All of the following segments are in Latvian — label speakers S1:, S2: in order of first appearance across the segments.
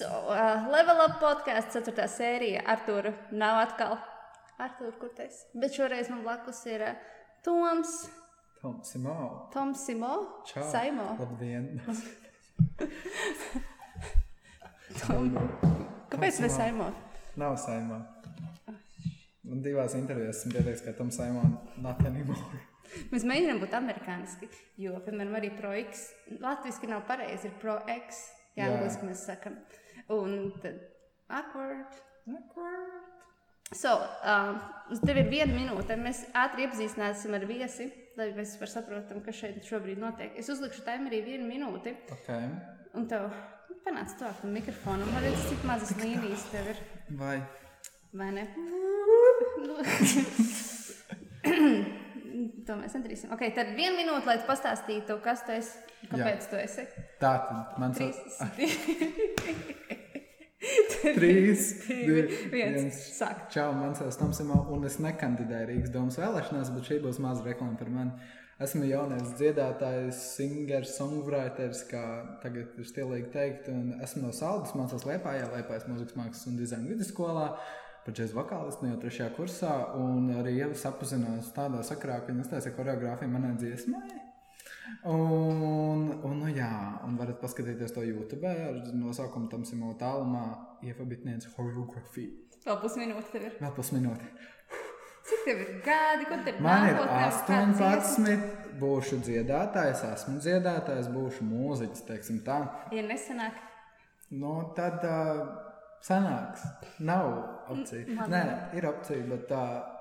S1: Oh uh, Level Up podkāsts, 4. sērija. Artur nav atkal. Artur, kur tas? Bet šoreiz man blakus ir uh, Toms,
S2: Toms ir māla.
S1: Toms Simo,
S2: Čau.
S1: Saimo.
S2: Labdien.
S1: Tom. Kāpēc
S2: Toms
S1: ne
S2: Simo.
S1: Saimo?
S2: Nav saimā.
S1: Ah,
S2: Man divās intervijās esmu pieteicis, ka Toms saimā not anymore.
S1: Mēs mēģinām būt amerikāņu, jo, piemēram, arī projekts latviešu nav pareizi. Ir projekts,
S2: Jā.
S1: jā, angļuiski mēs sakām. Un tad awkward.
S2: Awkward.
S1: So, um, uz tevi ir viena minūte. Mēs ātri iepazīstināsim ar viesi, lai mēs vispār saprotam, kas šeit šobrīd notiek. Es uzlikšu tam arī vienu minūti,
S2: Ok.
S1: un tev panāca to ar mikrofonu. Man liekas, cik mazas līnijas tev ir.
S2: Vai
S1: Vai ne? Nu. To mēs nedarīsim. Okay, tad vienu minūti, lai tu pastāstītu, kas tu esi, kāpēc Jā. tu esi.
S2: tā tad man
S1: Trīs,
S2: sauc
S1: trīs,
S2: Trīs,
S1: divi,
S2: divi,
S1: viens.
S2: viens.
S1: Sāk.
S2: Čau, man sauc Toms Simons, un es nekandidēju Rīgas domas vēlēšanās, bet šī būs maza reklāma par mani. Esmu jaunais dziedātājs, singers, songwriters, kā tagad ir stilīgi teikt, un esmu no Saldus, mācos Lietpājā, Lietpājas mūzikas mākslas un dizaina vidusskolā. Pačais vokālists no nu jau trešajā kursā, un arī jau sapazinos tādā sakrā, ka viņa uztaisīja koreogrāfiju manai dziesmai. Un, un, nu jā, un varat paskatīties to YouTube ar nosaukumu tam simbolā tālumā, iefabitnieca choreogrāfija.
S1: Vēl pusminūte tev ir.
S2: Vēl pusminūte.
S1: Cik tev ir gadi? Ko tev
S2: Man ir
S1: nākotnē? Kāds ies-
S2: 18, būšu dziedātājs, esmu dziedātājs, būšu mūziķis, teiksim tā.
S1: Ja nesanāk,
S2: Nu, tad uh, sanāks. Nav opcija.
S1: man
S2: Nē, ir opcija, bet tā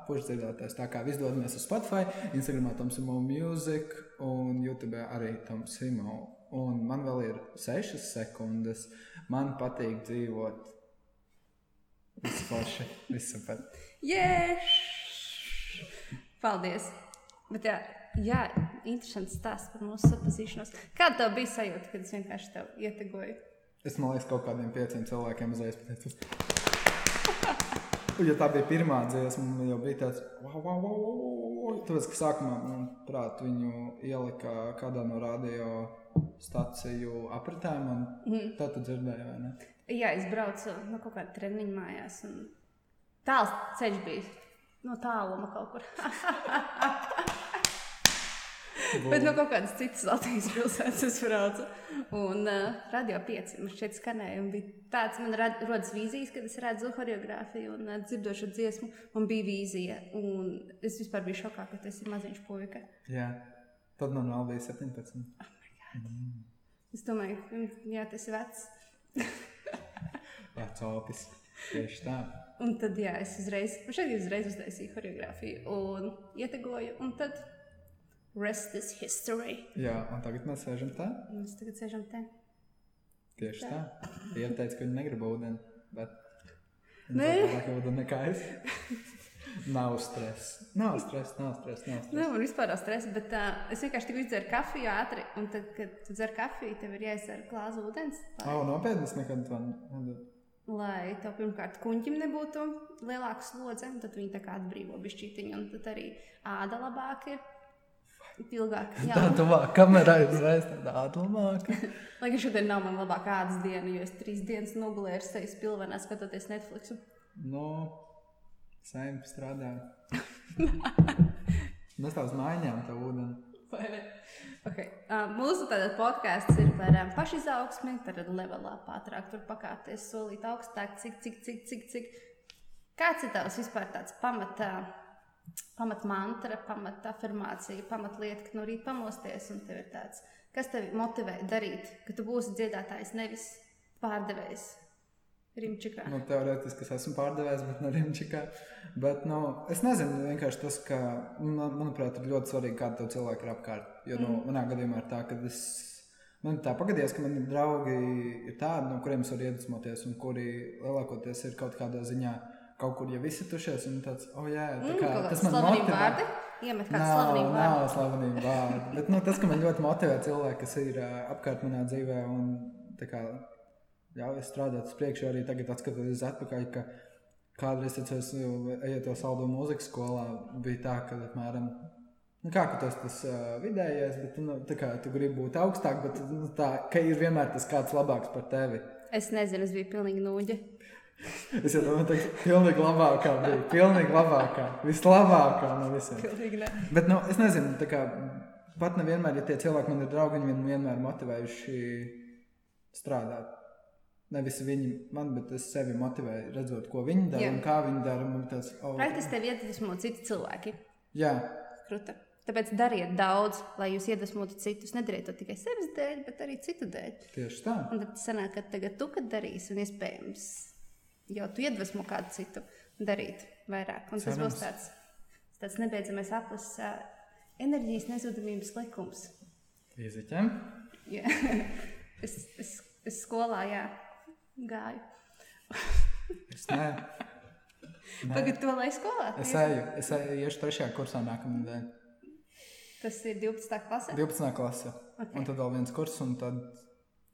S2: būšu dziedātājs. Tā kā viss dodamies uz Spotify, Instagramā Tom Simo Music un YouTube arī Tom Simo. Un man vēl ir 6 sekundes. Man patīk dzīvot. Viss forši, viss super.
S1: Yes! Paldies! Bet jā, jā interesants stāsts par mūsu sapazīšanos. Kāda tev bija sajūta, kad es vienkārši tev ietegoju?
S2: Es domāju, ka kaut kādiem pieciem cilvēkiem uzreiz pateicu. Ja tā bija pirmā dziesma, man jau bija tāds, wow, wow, wow, wow, wow, wow. Tāpēc, ka sākumā, manuprāt, viņu ielika kādā no radio stāciju apritēm, un mm. tā tu dzirdēji, vai ne?
S1: Jā, es braucu no kaut kāda treniņa mājās, un tāls ceļš bija no tāluma kaut kur. Bet no kaut kādas citas Latvijas pilsētas es braucu. Un uh, radio pieci man šeit skanēja. un bija Tāds man rad, rodas vīzijas, kad es redzu choreogrāfiju un uh, dzirdošu dziesmu. Man bija vīzija, un es vispār biju šokā, ka tas ir maziņš puika.
S2: Jā, tad man vēl bija 17.
S1: Es domāju, mm, jā, tas ir vecs.
S2: Jā, copis. Tieši tā.
S1: Un tad, jā, es uzreiz, man šeit uzreiz uztaisīju choreogrāfiju un ietegoju, un tad rest is history.
S2: Jā, un tagad mēs sēžam tā.
S1: Un Mēs tagad sēžam te.
S2: Tieši tā. Viņa teica, ka viņa negrib ūdeni, bet
S1: Nē.
S2: viņa vairāk ūdeni nekā es. Nav stress. Nav stress, nav stress. Nav stress.
S1: Nu, man vispār nav stresa, bet uh, es vienkārši tikai izdzeru kafiju ātri. Un tad, kad tu dzer kafiju, tev ir jāizdzer glāze ūdens. Lai,
S2: Nav oh, nopietnas nekad. to nedod.
S1: lai tev pirmkārt kuņķim nebūtu lielāka slodze, un tad viņi tā kā atbrīvo bišķītiņu, un tad arī āda labāk ir. Ilgāk, jā,
S2: Tā tuvāk kamerā ir uzreiz tāda atlamāka.
S1: lai gan šodien nav man labākā ādas diena, jo es trīs dienas nogulēju ar seju spilvenā, skatoties Netflix.
S2: No saimta Nu, strādā. Nestāv uz mājām tā ūdeni.
S1: Vai ne? Okay. Uh, mūsu tāda podkāsts ir par um, pašizaugsmi, tad levelā ātrāk tur pakāpties, solīt augstāk, cik, cik, cik, cik, cik. Kāds ir tavs vispār tāds pamatā? Pamatmantra, pamatafirmācija, pamatlieta, ka no rīta pamosties un tev ir tāds, kas tevi motivē darīt, ka tu būsi dziedātājs, nevis pārdevējs. Rimčikā.
S2: Nu, teorētiski es esmu pārdevējs, bet ne Rimčikā. Bet, nu, es nezinu, vienkārši tas, ka, nu, man, manuprāt, ir ļoti svarīgi, kāda tev cilvēka ir apkārt. Jo, nu, manā gadījumā ir tā, ka es. Man ir tā pagadies, ka man ir draugi ir tādi, no kuriem es varu iedvesmoties, un kuri lielākoties ir kaut kādā ziņā kaut kur jau izsitušies. Un tāds, oh, jā, tā
S1: Mm,
S2: kā,
S1: kaut kāds
S2: tas man
S1: slavenību
S2: motivē.
S1: vārdi? Iemet kādu
S2: Nav,
S1: slavenību vārdu.
S2: nav slavenība vārdi. Bet nu, tas, ka man ļoti motivē cilvēki, kas ir ā, apkārt manā dzīvē, un tā kā ļauj strādāt uz priekšu, arī tagad skatoties atpakaļ. ka Kādreiz, kad es eju to saldu mūzikas skolā, bija tā, ka apmēram. Nu, kā ka tas eh, ir vidējais, bet tu, nu, tā kā, tu gribi būt augstāk, bet nu, tā, ka ir vienmēr tas kāds labāks par tevi.
S1: Es nezinu, es biju pilnīgi nūģa.
S2: Es jau domāju, tas bija pilnīgi labākā. Bija, pilnīgi labākā. Vislabākā no visiem.
S1: Pilnīgi ne.
S2: Bet nu, es nezinu, tā kā pat nevienmēr, ja tie cilvēki man ir draugi, viņi man vienmēr motivējuši strādāt. Nevis viņi man, bet es sevi motivēju, redzot, ko viņi dara
S1: Jā.
S2: un kā viņi dara. Man tas oh,
S1: Vai tas tev iedvesmo citi cilvēki?
S2: jā,
S1: Kruta. Tāpēc dariet daudz, lai jūs iedvesmotu citus. Nedariet to tikai sevis dēļ, bet arī citu dēļ.
S2: tieši tā.
S1: Un tad sanāk, ka tagad tu, kad darīsi, un iespējams, jau tu iedvesmo kādu citu darīt vairāk. Un tas
S2: Cerams.
S1: būs tāds, tāds nebeidzamais aplis, ā, enerģijas nezudamības likums.
S2: Fiziķiem.
S1: Jā. es, es, es skolā jā, gāju.
S2: Es, nē, Nē.
S1: Tagad to lai skolā.
S2: es eju, es eju, iešu trešajā kursā nākamā nedēļa.
S1: Tas ir 12. klasē.
S2: 12. klase.
S1: Ok.
S2: Un tad vēl viens kurs, un tad,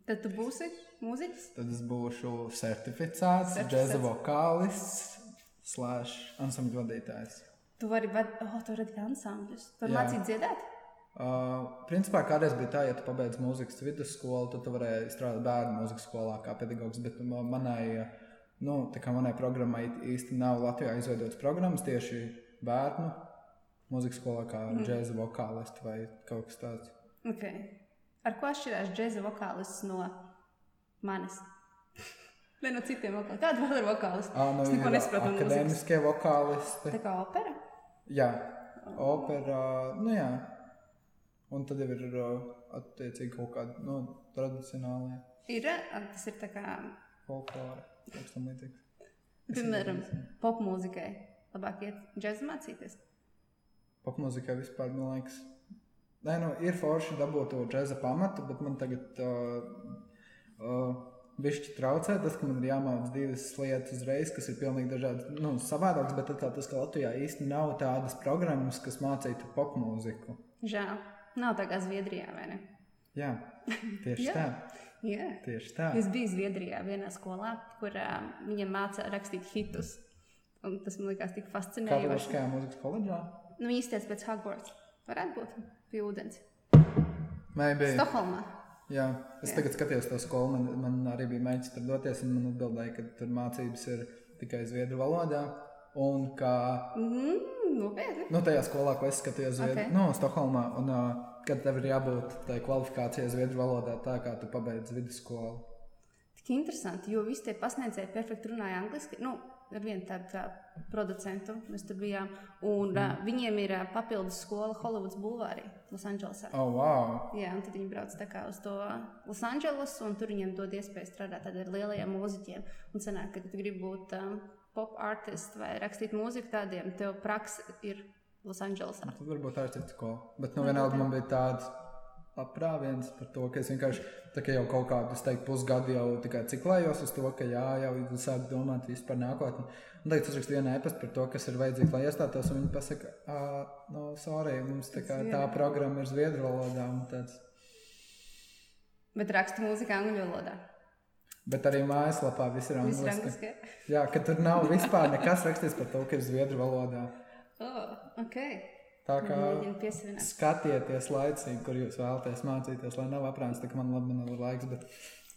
S1: Tad tu būsi mūziķis.
S2: tad es būšu certificēts,
S1: Certificēts.
S2: džēza vokālists, slēdz ansambļu vadītājs.
S1: Tu vari vadīt, oh, tu vari vadīt ansambļus. Tu vari
S2: Jā.
S1: mācīt dziedāt.
S2: Uh, principā kādreiz bija tā, ja tu pabeidz muzikas vidusskolu, tad tu varēji strādāt bērnu muzikas skolā kā pedagogs. Bet ma- manai, uh, nu, tā kā manai programmai īsti nav Latvijā izveidotas programmas tieši bērnu muzikas skolā, kā mm. džēza vokālisti vai kaut kas tāds.
S1: Okay. Ar ko atšķirās džēza vokālists no manis? Ne no citiem vokālistiem. Kāda vēl ir vokālisti?
S2: Ā, nu,
S1: es neko
S2: ir
S1: nesaprotu. no mūzikas.
S2: Akadēmiskie vokālisti.
S1: Tā kā opera.
S2: Jā, operā, nu jā. Un tad jau ir uh, attiecīgi kaut kāda nu, tradicionāla
S1: Ir, ā, tas ir tā kā,
S2: folklora, kaut kas tam līdzīgs.
S1: piemēram, popmūzikai. Labāk iet džēzu mācīties.
S2: popmūzikā vispār, man liekas. Nē, nu, ir forši dabūt to džēza pamatu, bet man tagad uh, uh, bišķi traucē tas, ka man ir jāmācās divas lietas uzreiz, kas ir pilnīgi dažādas, nu, savādākas. Bet tā, tas, ka Latvijā īsti nav tādas programmas, kas mācītu popmūziku.
S1: Žēl. Nav tā kā Zviedrijā, vai ne?
S2: Jā, tieši
S1: Jā.
S2: tā.
S1: Jā.
S2: Tieši tā.
S1: Es biju Zviedrijā vienā skolā, kur uh, viņiem mācīja rakstīt hitus. Un tas man likās tik
S2: Kā
S1: fascinējoši.
S2: Latvijas mūzikas koledžā?
S1: Nu, īstenībā pēc Hogwarts. Varētu būt pie ūdens.
S2: Maybe.
S1: Stokholmā.
S2: Jā,
S1: Jā.
S2: es jā. tagad skatos to skolu. Man, man arī bija mēģinājums tur doties, un man atbildēja, ka tur mācības ir tikai zviedru valodā. Un ka
S1: Mm, nopietni.
S2: Nu, tajā skolā, ko es skatījos
S1: Ok.
S2: Zviedrijā, okay. nu, Stokholmā, un uh, kad tev ir jābūt tai kvalifikācijai Zviedru valodā, tā kā tu pabeidz vidusskolu.
S1: Tik interesanti, jo visi tie pasniedzēji perfekti runāja angliski. Nu, ar vienu tādu kā producentu mēs tur bijām. Un mm. uh, viņiem ir uh, papildus skola Holivudas Bulvārī, Losandželosā.
S2: Oh, wow!
S1: Jā, un tad viņi brauc tā kā uz to Losandželosu, un tur viņiem dod iespēju strādāt tad ar lielajiem mūziķiem. Un sanāk, ka tu gribi būt um, pop artists vai rakstīt mūziku tādiem, tev praksa ir Losandželosā.
S2: Tad varbūt tā ir cita skola. Bet nu, vienalga man bija tāds aprāviens par to, ka es vienkārši tā kā jau kaut kādu, es teiktu, pusgadu jau tikai ciklējos uz to, ka jā, jau sāku domāt visu par nākotni. Un tagad es uzrakstīju vienu e-pastu par to, kas ir vajadzīgs, lai iestātos, un viņi pasaka, "Ā, no, sorry, mums tā, kā, tā programma ir Zviedru valodā. un tāds.
S1: Bet raksta mūziku angļu valodā.
S2: Bet arī mājaslapā viss ir
S1: Viss ir
S2: angliski.
S1: angliski.
S2: Jā, ka tur nav vispār nekas rakstīts par to, ka ir zviedru valodā.
S1: Oh, ok.
S2: Tā kā
S1: Mēģinu piesavināties.
S2: skatieties laicīgi, kur jūs vēlaties mācīties, lai nav aprāns, tā kā man labi man ir laiks, bet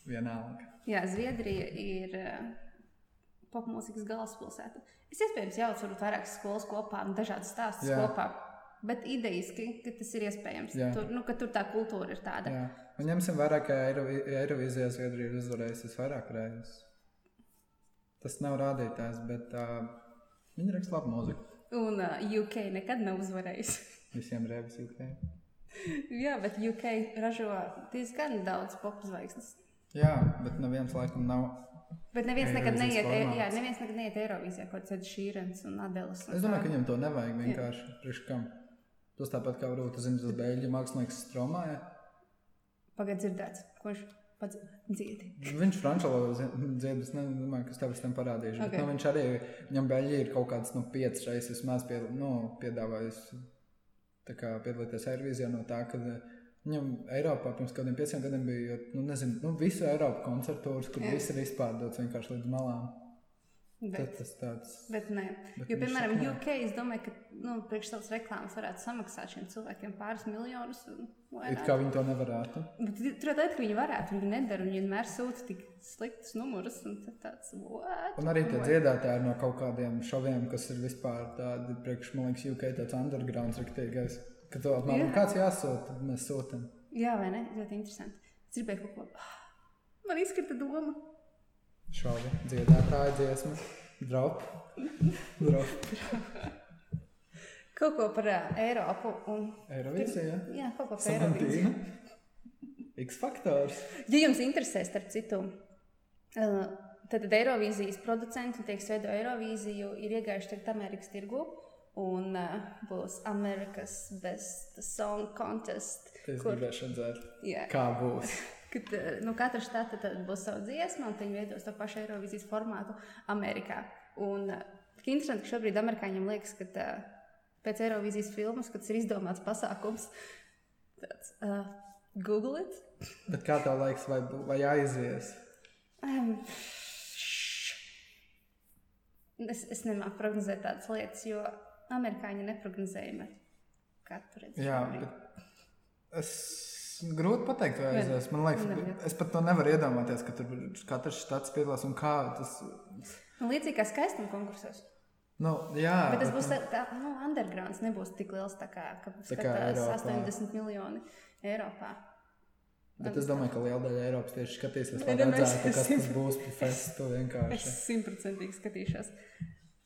S2: vienalga.
S1: Jā, Zviedrija ir uh, popmūzikas galvaspilsēta. Es iespējams jau atceros vairākas skolas kopā un dažādas stāstus
S2: Jā.
S1: kopā. Bet idejaski, ka tas ir iespējams.
S2: Jā.
S1: Tur, nu, ka tur tā kultūra ir tāda.
S2: Jā. Un ņemsim vērā, ka Eirovi- Eirovizijā Zviedrija ir uzvarējusi vairāk reizes. Tas nav rādītājs, bet uh, viņi raksta labu mūziku.
S1: Un uh, UK nekad nav uzvarējusi.
S2: Visiem rēvis UK.
S1: Jā, bet UK ražo diezgan daudz popzvaigznes.
S2: Jā, bet neviens laikam nav.
S1: Bet neviens nekad neiet,
S2: Eirovizijas
S1: e- jā,
S2: formāts.
S1: neviens nekad neiet Eirovizijā, kaut kāds Šīrens un Adelis.
S2: Es domāju, ka viņam to nevajag vienkārši. Priekš kam? Tas tāpat kā varbūt zinu, tas beļģu mākslinieks stromāja. Ja?
S1: Pagaidiet, dzirdēts, ko viņš pats dziedi.
S2: Viņš franču valodā dziedā, es nezinu, kas tev tam parādīšu. Okay.
S1: Ok.
S2: Nu, viņš arī, viņam Beļģija ir kaut kāds, nu, piecas reizes vismaz pie, nu, piedāvājis tā kā piedalīties Eirovizijā no tā, ka eh, viņam Eiropā pirms kaut kādiem pieciem gadiem bija, nu, nezinu, nu, visu Eiropu koncertos, kur
S1: Jā.
S2: viss ir izpārdots vienkārši līdz malām. Tad
S1: Bet,
S2: tas tāds
S1: bet nē,
S2: Bet
S1: jo,
S2: viņš
S1: piemēram,
S2: saka, nē.
S1: UK, es domāju, ka nu, priekš savas reklāmas varētu samaksāt šiem cilvēkiem pāris miljonus. un
S2: it
S1: vairāk.
S2: kā viņi to nevarētu.
S1: Bet tur jau tādā veidā, ka viņi varētu, viņi nedara, viņi vienmēr sūta tik sliktus numurus. Un tad tāds, what?
S2: Un arī tie
S1: Vai-
S2: dziedātāji ir no kaut kādiem šoviem, kas ir vispār tādi, priekš, man liekas, UK tāds underground riktīgais. Ka to apmēram
S1: Jā.
S2: kāds jāsūta, tad mēs sūtam.
S1: Jā, vai ne? Ļoti interesanti. Es gribēju kaut ko. "Ah, Man izkrita doma.
S2: Šovi, dziedātāji, dziesma, drop. drop.
S1: Kaut ko par uh, Eiropu. Un...
S2: Eirovizija.
S1: Jā, kaut ko par Eiropu.
S2: Samantīna. X faktors.
S1: Ja jums interesē, starp citu, uh, tad tad Eirovīzijas producenti, tie, kas veido Eirovīziju, ir iegājuši tagad Amerikas tirgu. Un uh, būs Amerikas Best Song Contest.
S2: Es
S1: kur-
S2: gribēju redzēt,
S1: Jā,
S2: kā būs.
S1: Kad eh, nu, katra štata tad būs sava dziesma, un viņi veidos to pašu Eirovisijas formātu Amerikā. Un eh, tik interesanti, ka šobrīd amerikāņiem liekas, ka eh, pēc Eirovisijas filmas, kad tas ir izdomāts pasākums, tāds uh, Google it.
S2: Bet kā tev laiks, vai, bū- vai aizies?
S1: Um, es, es nemāku prognozēt tādas lietas, jo amerikāņi neprognozējami. Kā tur redzat?
S2: Jā,
S1: šobrīd.
S2: bet es grūti pateikt, vai
S1: Nevar.
S2: aizies. Man liekas,
S1: Nevar.
S2: es pat to nevaru iedomāties, ka tur katrs štats piedalās un kā tas.
S1: Nu, līdzīgi kā skaistuma konkursos.
S2: Nu, jā,
S1: Bet tas būs tāds nu, undergrounds, nebūs tik liels, tā kā, ka
S2: Tā kā
S1: skatās
S2: Eiropā.
S1: 80 miljoni Eiropā.
S2: bet es domāju, ka liela daļa Eiropas tieši skatīsies, lai
S1: Nē, nu, mēs
S2: redzētu, kas tas
S1: esam-
S2: būs pie festu
S1: Es
S2: vienkārši.
S1: simtprocentīgi skatīšos.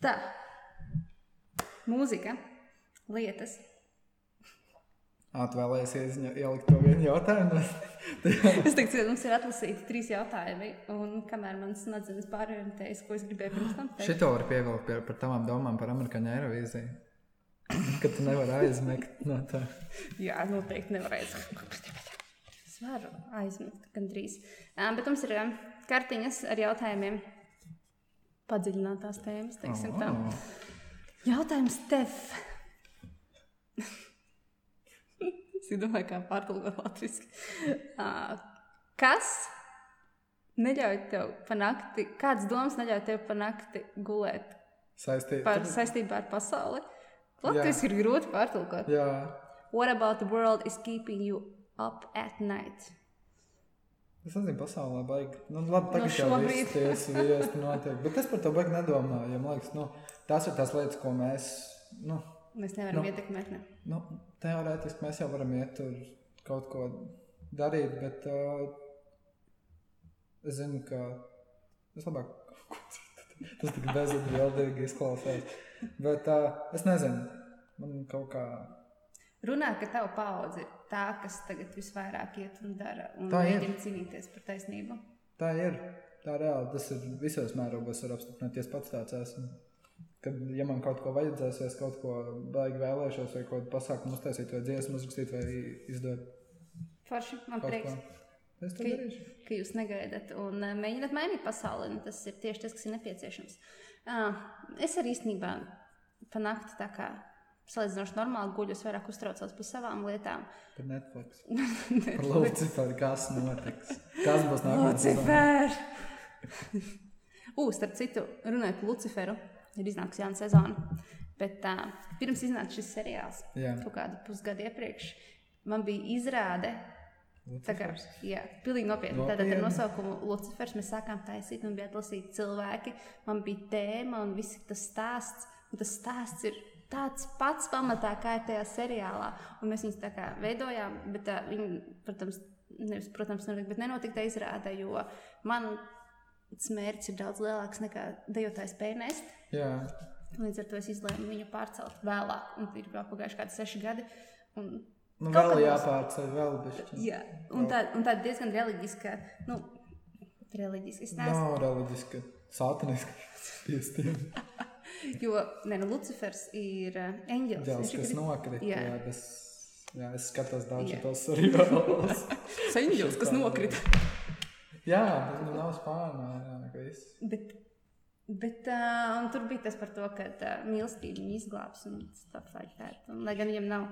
S1: Tā, mūzika, lietas.
S2: Atvēlējies ieziņa- ielikt to vienu jautājumu.
S1: Es teicu, ka mums ir atlasīti trīs jautājumi, un kamēr man smadzenes pārorientējas, ko es gribēju pirms tam teikt,
S2: Šito var pievilkt pie, par tavām domām par amerikāņu eirovīziju. Ka tu nevari aizmigt no tā.
S1: jā, noteikti nevarēs. Es varu aizmigt gandrīz. Ā, Bet mums ir ā, kartiņas ar jautājumiem. Padziļinātās tēmas, teiksim tā.
S2: Oh.
S1: Jautājums tev. es domāju, kā pārtulkot latviešu. Kas neļauj tev panākti, kādas domas neļauj tev panākti gulēt
S2: Saistīt.
S1: par saistībā ar pasauli? Latvijas ir grūti pārtulkot.
S2: Jā,
S1: What about the world is keeping you up at night?
S2: es nezinu, pasaulē baigi. Nu, labi,
S1: Nu,
S2: tagad jau
S1: šobrīd.
S2: viss ties viesti notiek. Bet es par to baigi nedomāju. Ja, man liekas, nu, tās ir tās lietas, ko mēs, nu,
S1: Mēs nevaram
S2: Nu.
S1: no. ietekmēt. Ne?
S2: nu teorētiski mēs jau varam iet tur kaut ko darīt, bet uh, es zinu, ka es labāk kaut ko citu. Tas tik bezatbildīgi izklausās. Bet uh, es nezinu, man kaut kā
S1: Runā, ka tava paudze ir tā, kas tagad visvairāk iet un dara un
S2: Tā ir.
S1: mēģina cīnīties par taisnību.
S2: tā ir. Tā reāli tas ir visos mērogos, var apstiprināties pats tāds esmu. Kad, ja man kaut ko vajadzēs, vai es kaut ko baigi vēlēšos, vai kaut kādu pasākumu uztaisīt, vai dziesmu uzrakstīt, vai izdot
S1: Forši, man
S2: kaut
S1: prieks.
S2: ko. Es to
S1: Ka-
S2: darīšu.
S1: ka jūs negaidat un eh, mēģināt mainīt pasauli. un Tas ir tieši tas, kas ir nepieciešams. Ah, Es arī īstenībā pa nakti tā kā salīdzinoši normāli guļu, es vairāk uztraucos par savām lietām.
S2: Par Netflix. Par Luciferu, kas notiks. Kas būs nākamais? sezonā?
S1: Lucifer! Uz, starp citu, runājot par Luciferu, ir iznākusi jauna sezona. Bet uh, pirms iznāca šis seriāls,
S2: Jā.
S1: kaut kādu pusgadu iepriekš, man bija izrāde. Tā kā,
S2: Lucifers.
S1: jā, pilnīgi nopietni. Tātad ar
S2: Nopietni.
S1: nosaukumu Lucifers mēs sākām taisīt, un bija atlasīti cilvēki. Man bija tēma un viss tas stāsts. Un tas stāsts ir tāds pats pamatā, kā ir tajā seriālā. Un mēs viņus tā kā veidojām, bet tā, viņi, protams, nevis, protams, nenotika, bet nenotika tā izrāde, jo man smērķis ir daudz lielāks nekā dejotājs spēja nest.
S2: Jā,
S1: Līdz ar to es izlēmu viņu pārcelt vēlāk, un ir vēl pagājuši kādi seši gadi. Un,
S2: nu
S1: Kaut
S2: vēl
S1: kad būs.
S2: jāpārceļ, vēl bišķi.
S1: Jā, un tāda tā diezgan reliģiska. Nu, reliģiska es neesmu.
S2: Nav reliģiski, sataniski. Piestīvi.
S1: No. Jo ne, nu, Lucifers ir uh, eņģelis.
S2: Dēls,
S1: ir
S2: kas nokrita.
S1: Jā.
S2: Jā. Jā, bez... jā, es skatos daudz
S1: Jā.
S2: tos seriālus.
S1: Tas ir eņģelis, kas nokrita.
S2: jā, tas nu nav spānā. Jā, ka viss.
S1: Bet, bet uh, un tur bija tas par to, ka uh, mīlestība viņu izglābs un stuff like that. Un, lai gan viņam nav,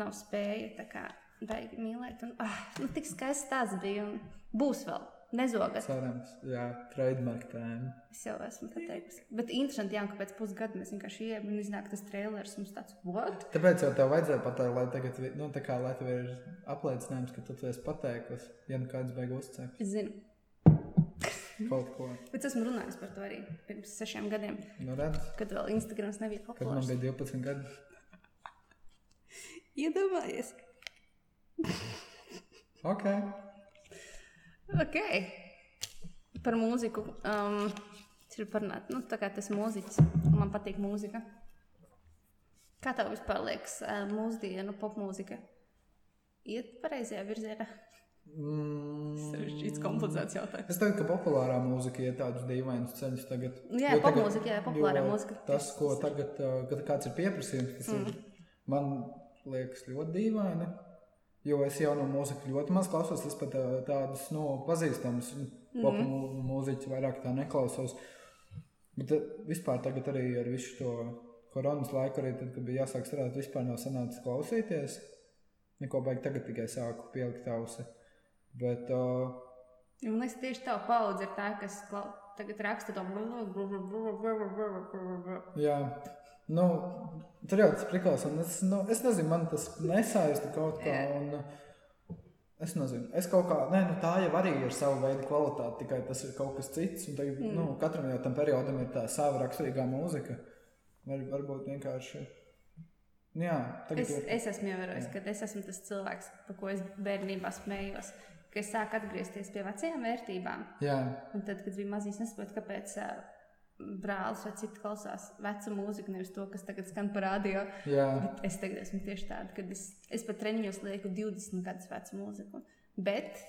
S1: nav spēja tā kā baigi mīlēt. Un, ah, nu, tik skaists tas bija un būs vēl. Nezogat.
S2: Cerams, jā, trademark tēma.
S1: Es jau esmu pateikusi. Bet interesanti, jā, ka pēc pusgada mēs vienkārši ieejam un iznāk tas trailers mums tāds - what?
S2: Tāpēc jau tev vajadzēja pateikt, lai tagad, vi- nu, tā kā lai tev ir apliecinājums, ka tu to esi pateikusi, ja nu kāds beigas uzcēpt
S1: Es zinu. Mhm.
S2: kaut ko.
S1: Bet esmu runājis par to arī pirms sešiem gadiem,
S2: Nu, redz,
S1: kad vēl Instagrams nebija
S2: kad man
S1: populārs.
S2: bija 12 gadi.
S1: Iedomājies!
S2: Ok,
S1: Ok. Par mūziku. Um, ir parunāt, nu, tā kā tas mūziķis. Man patīk mūzika. Kā tev vispār liekas, ā, mūsdienu popmūzika? Iet pareizajā virzienā.
S2: mm,
S1: Sarežģīts, komplicēts jautājums.
S2: Es teiktu, ka populārā mūzika ir tāds dīvains ceļš tagad.
S1: Jā,
S2: Jo tagad-
S1: popmūzika, jā, populārā
S2: jo
S1: mūzika.
S2: Tas, ko tagad, uh, kad kāds ir pieprasījums, tas mm. ir, man liekas ļoti dīvaini. Jo es jau no mūzikas ļoti maz klausos. Es pat uh, tādus no pazīstamus mm.
S1: Mhm.
S2: popmūziķus mūziķus vairāk tā neklausos. Bet uh, vispār tagad arī ar visu to koronas laiku, arī tad, kad bija jāsāk strādāt, vispār nav sanācis klausīties. Neko baigi tagad tikai sāku pielikt ausi. Bet, uh,
S1: Ja Man liekas, tieši tā paudze ir tā, kas klau- tagad raksta to mūziku.
S2: Jā, nu, tur jau tas prikals, un es, nu, es nezinu, man tas nesaista kaut kā.
S1: Jā.
S2: Un, nu, es nezinu, es kaut kā, nē, nu, tā jau arī ir sava veida kvalitāte, tikai tas ir kaut kas cits. Un tagad, mm. nu, katram jau tam periodam ir tā sava raksturīgā mūzika. Var, varbūt vienkārši. Nu, jā, tagad
S1: Es,
S2: es, ir.
S1: es esmu ievērojis, ka es esmu tas cilvēks, par ko es bērnībā smējos, ka es sāku atgriezties pie vecajām vērtībām.
S2: Jā,
S1: Un tad, kad bija mazs, nesaprotu, kāpēc ā, brālis vai citi klausās vecu mūziku, nevis to, kas tagad skan parādījā.
S2: jā.
S1: Bet es tagad esmu tieši tāda, ka es, es pat treniņos lieku 20 gadus vecu mūziku. Bet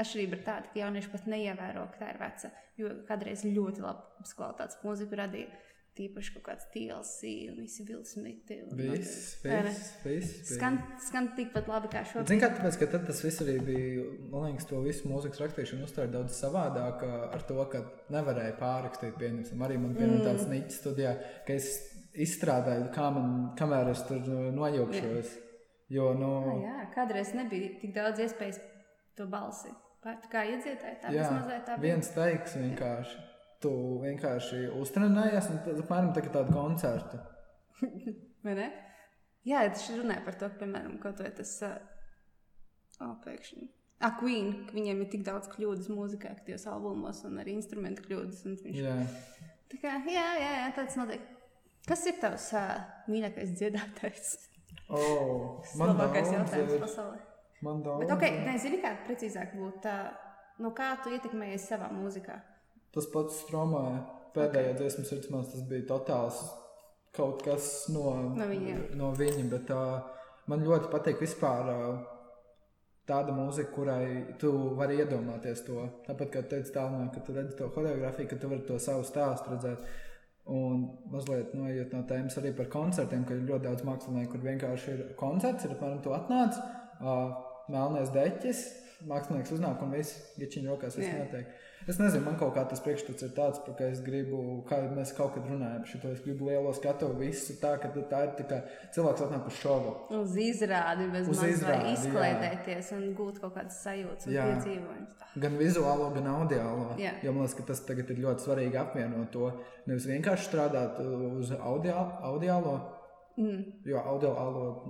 S1: atšķirība ir tāda, ka jaunieši pat neievēro, ka tā ir veca. Jo kādreiz ļoti labas kvalitātes mūziku radīja. Tīpaši kaut kāds TLC un visi vilsmīti.
S2: Viss,
S1: Vai ne?
S2: viss, viss.
S1: Skan, skan tikpat labi kā šobrīd.
S2: Ziniet, kā tāpēc, ka tad tas viss arī bija, man liekas, to visu mūzikas rakstīšanu uztvēra daudz savādāk ā, ar to, ka nevarēja pārrakstīt, pieņemsim, arī man bija mm. tāds niķis studijā, ka es izstrādāju, kā man, kamēr es tur ā, nojaukšos. Jo, nu,
S1: Ah, jā, kādreiz nebija tik daudz iespējas to balsi. Pat kā iedziedāji, tā mazliet tā bija.
S2: viens teiks vienkārši. Tu vienkārši uztrenējies, un tas apmēram tā kā tāda koncerta.
S1: Vai ne? Jā, es šeit runāju par to, ka, piemēram, kaut vai tas uh, oh, pēkšņi. Ah, Queen, ka viņiem ir tik daudz kļūdas mūzikā, ka tajos albumos un arī instrumentu kļūdas. un Viņš...
S2: Jā.
S1: Tā kā, jā, jā, jā, tāds notiek. Kas ir tavs uh, mīļākais dziedātājs?
S2: Oh, man
S1: Labākais jautājums
S2: ir-
S1: pasaulē.
S2: Man daudz.
S1: Bet, ok, nezinu, kā precīzāk būtu. Uh, no kā tu ietekmējies savā mūzikā?
S2: Tas pats strāmoja. Pēdējā dziesmas sirdsmās tas bija totāls kaut kas no,
S1: No viņiem.
S2: No viņa, bet, uh, man ļoti patīk vispār uh, tāda mūzika, kurai tu vari iedomāties to. Tāpat kā teicu tālāk, ka tu redzi to choreogrāfiju, ka tu vari to savu stāstu redzēt. Un mazliet noiet no tēmas arī par koncertiem, ka ir ļoti daudz mākslinieku, kur vienkārši ir koncerts, ir apmēram tu atnāc, uh, melnēs deķis, mākslinieks uznāk un viss geķiņu rokās viss
S1: Jā.
S2: notiek. Es nezinu, man kaut kā tas priekšstats ir tāds, par ka es gribu, kā jau mēs kaut kad runājam, šito es gribu lielo skatu, visu tā, ka tā ir tikai cilvēks atnāk uz šovu.
S1: Uz izrādi, bez manis,
S2: Uz
S1: lai
S2: izrādi, jā.
S1: izklaidēties un gūt kaut kādas sajūtas un
S2: Jā.
S1: piedzīvojumus. Tā.
S2: Gan vizuālo, gan audio.
S1: Jā.
S2: Jo man liekas, ka tas tagad ir ļoti svarīgi apvienot to. Nevis vienkārši strādāt uh, uz audio, audio
S1: Mm.
S2: jo audio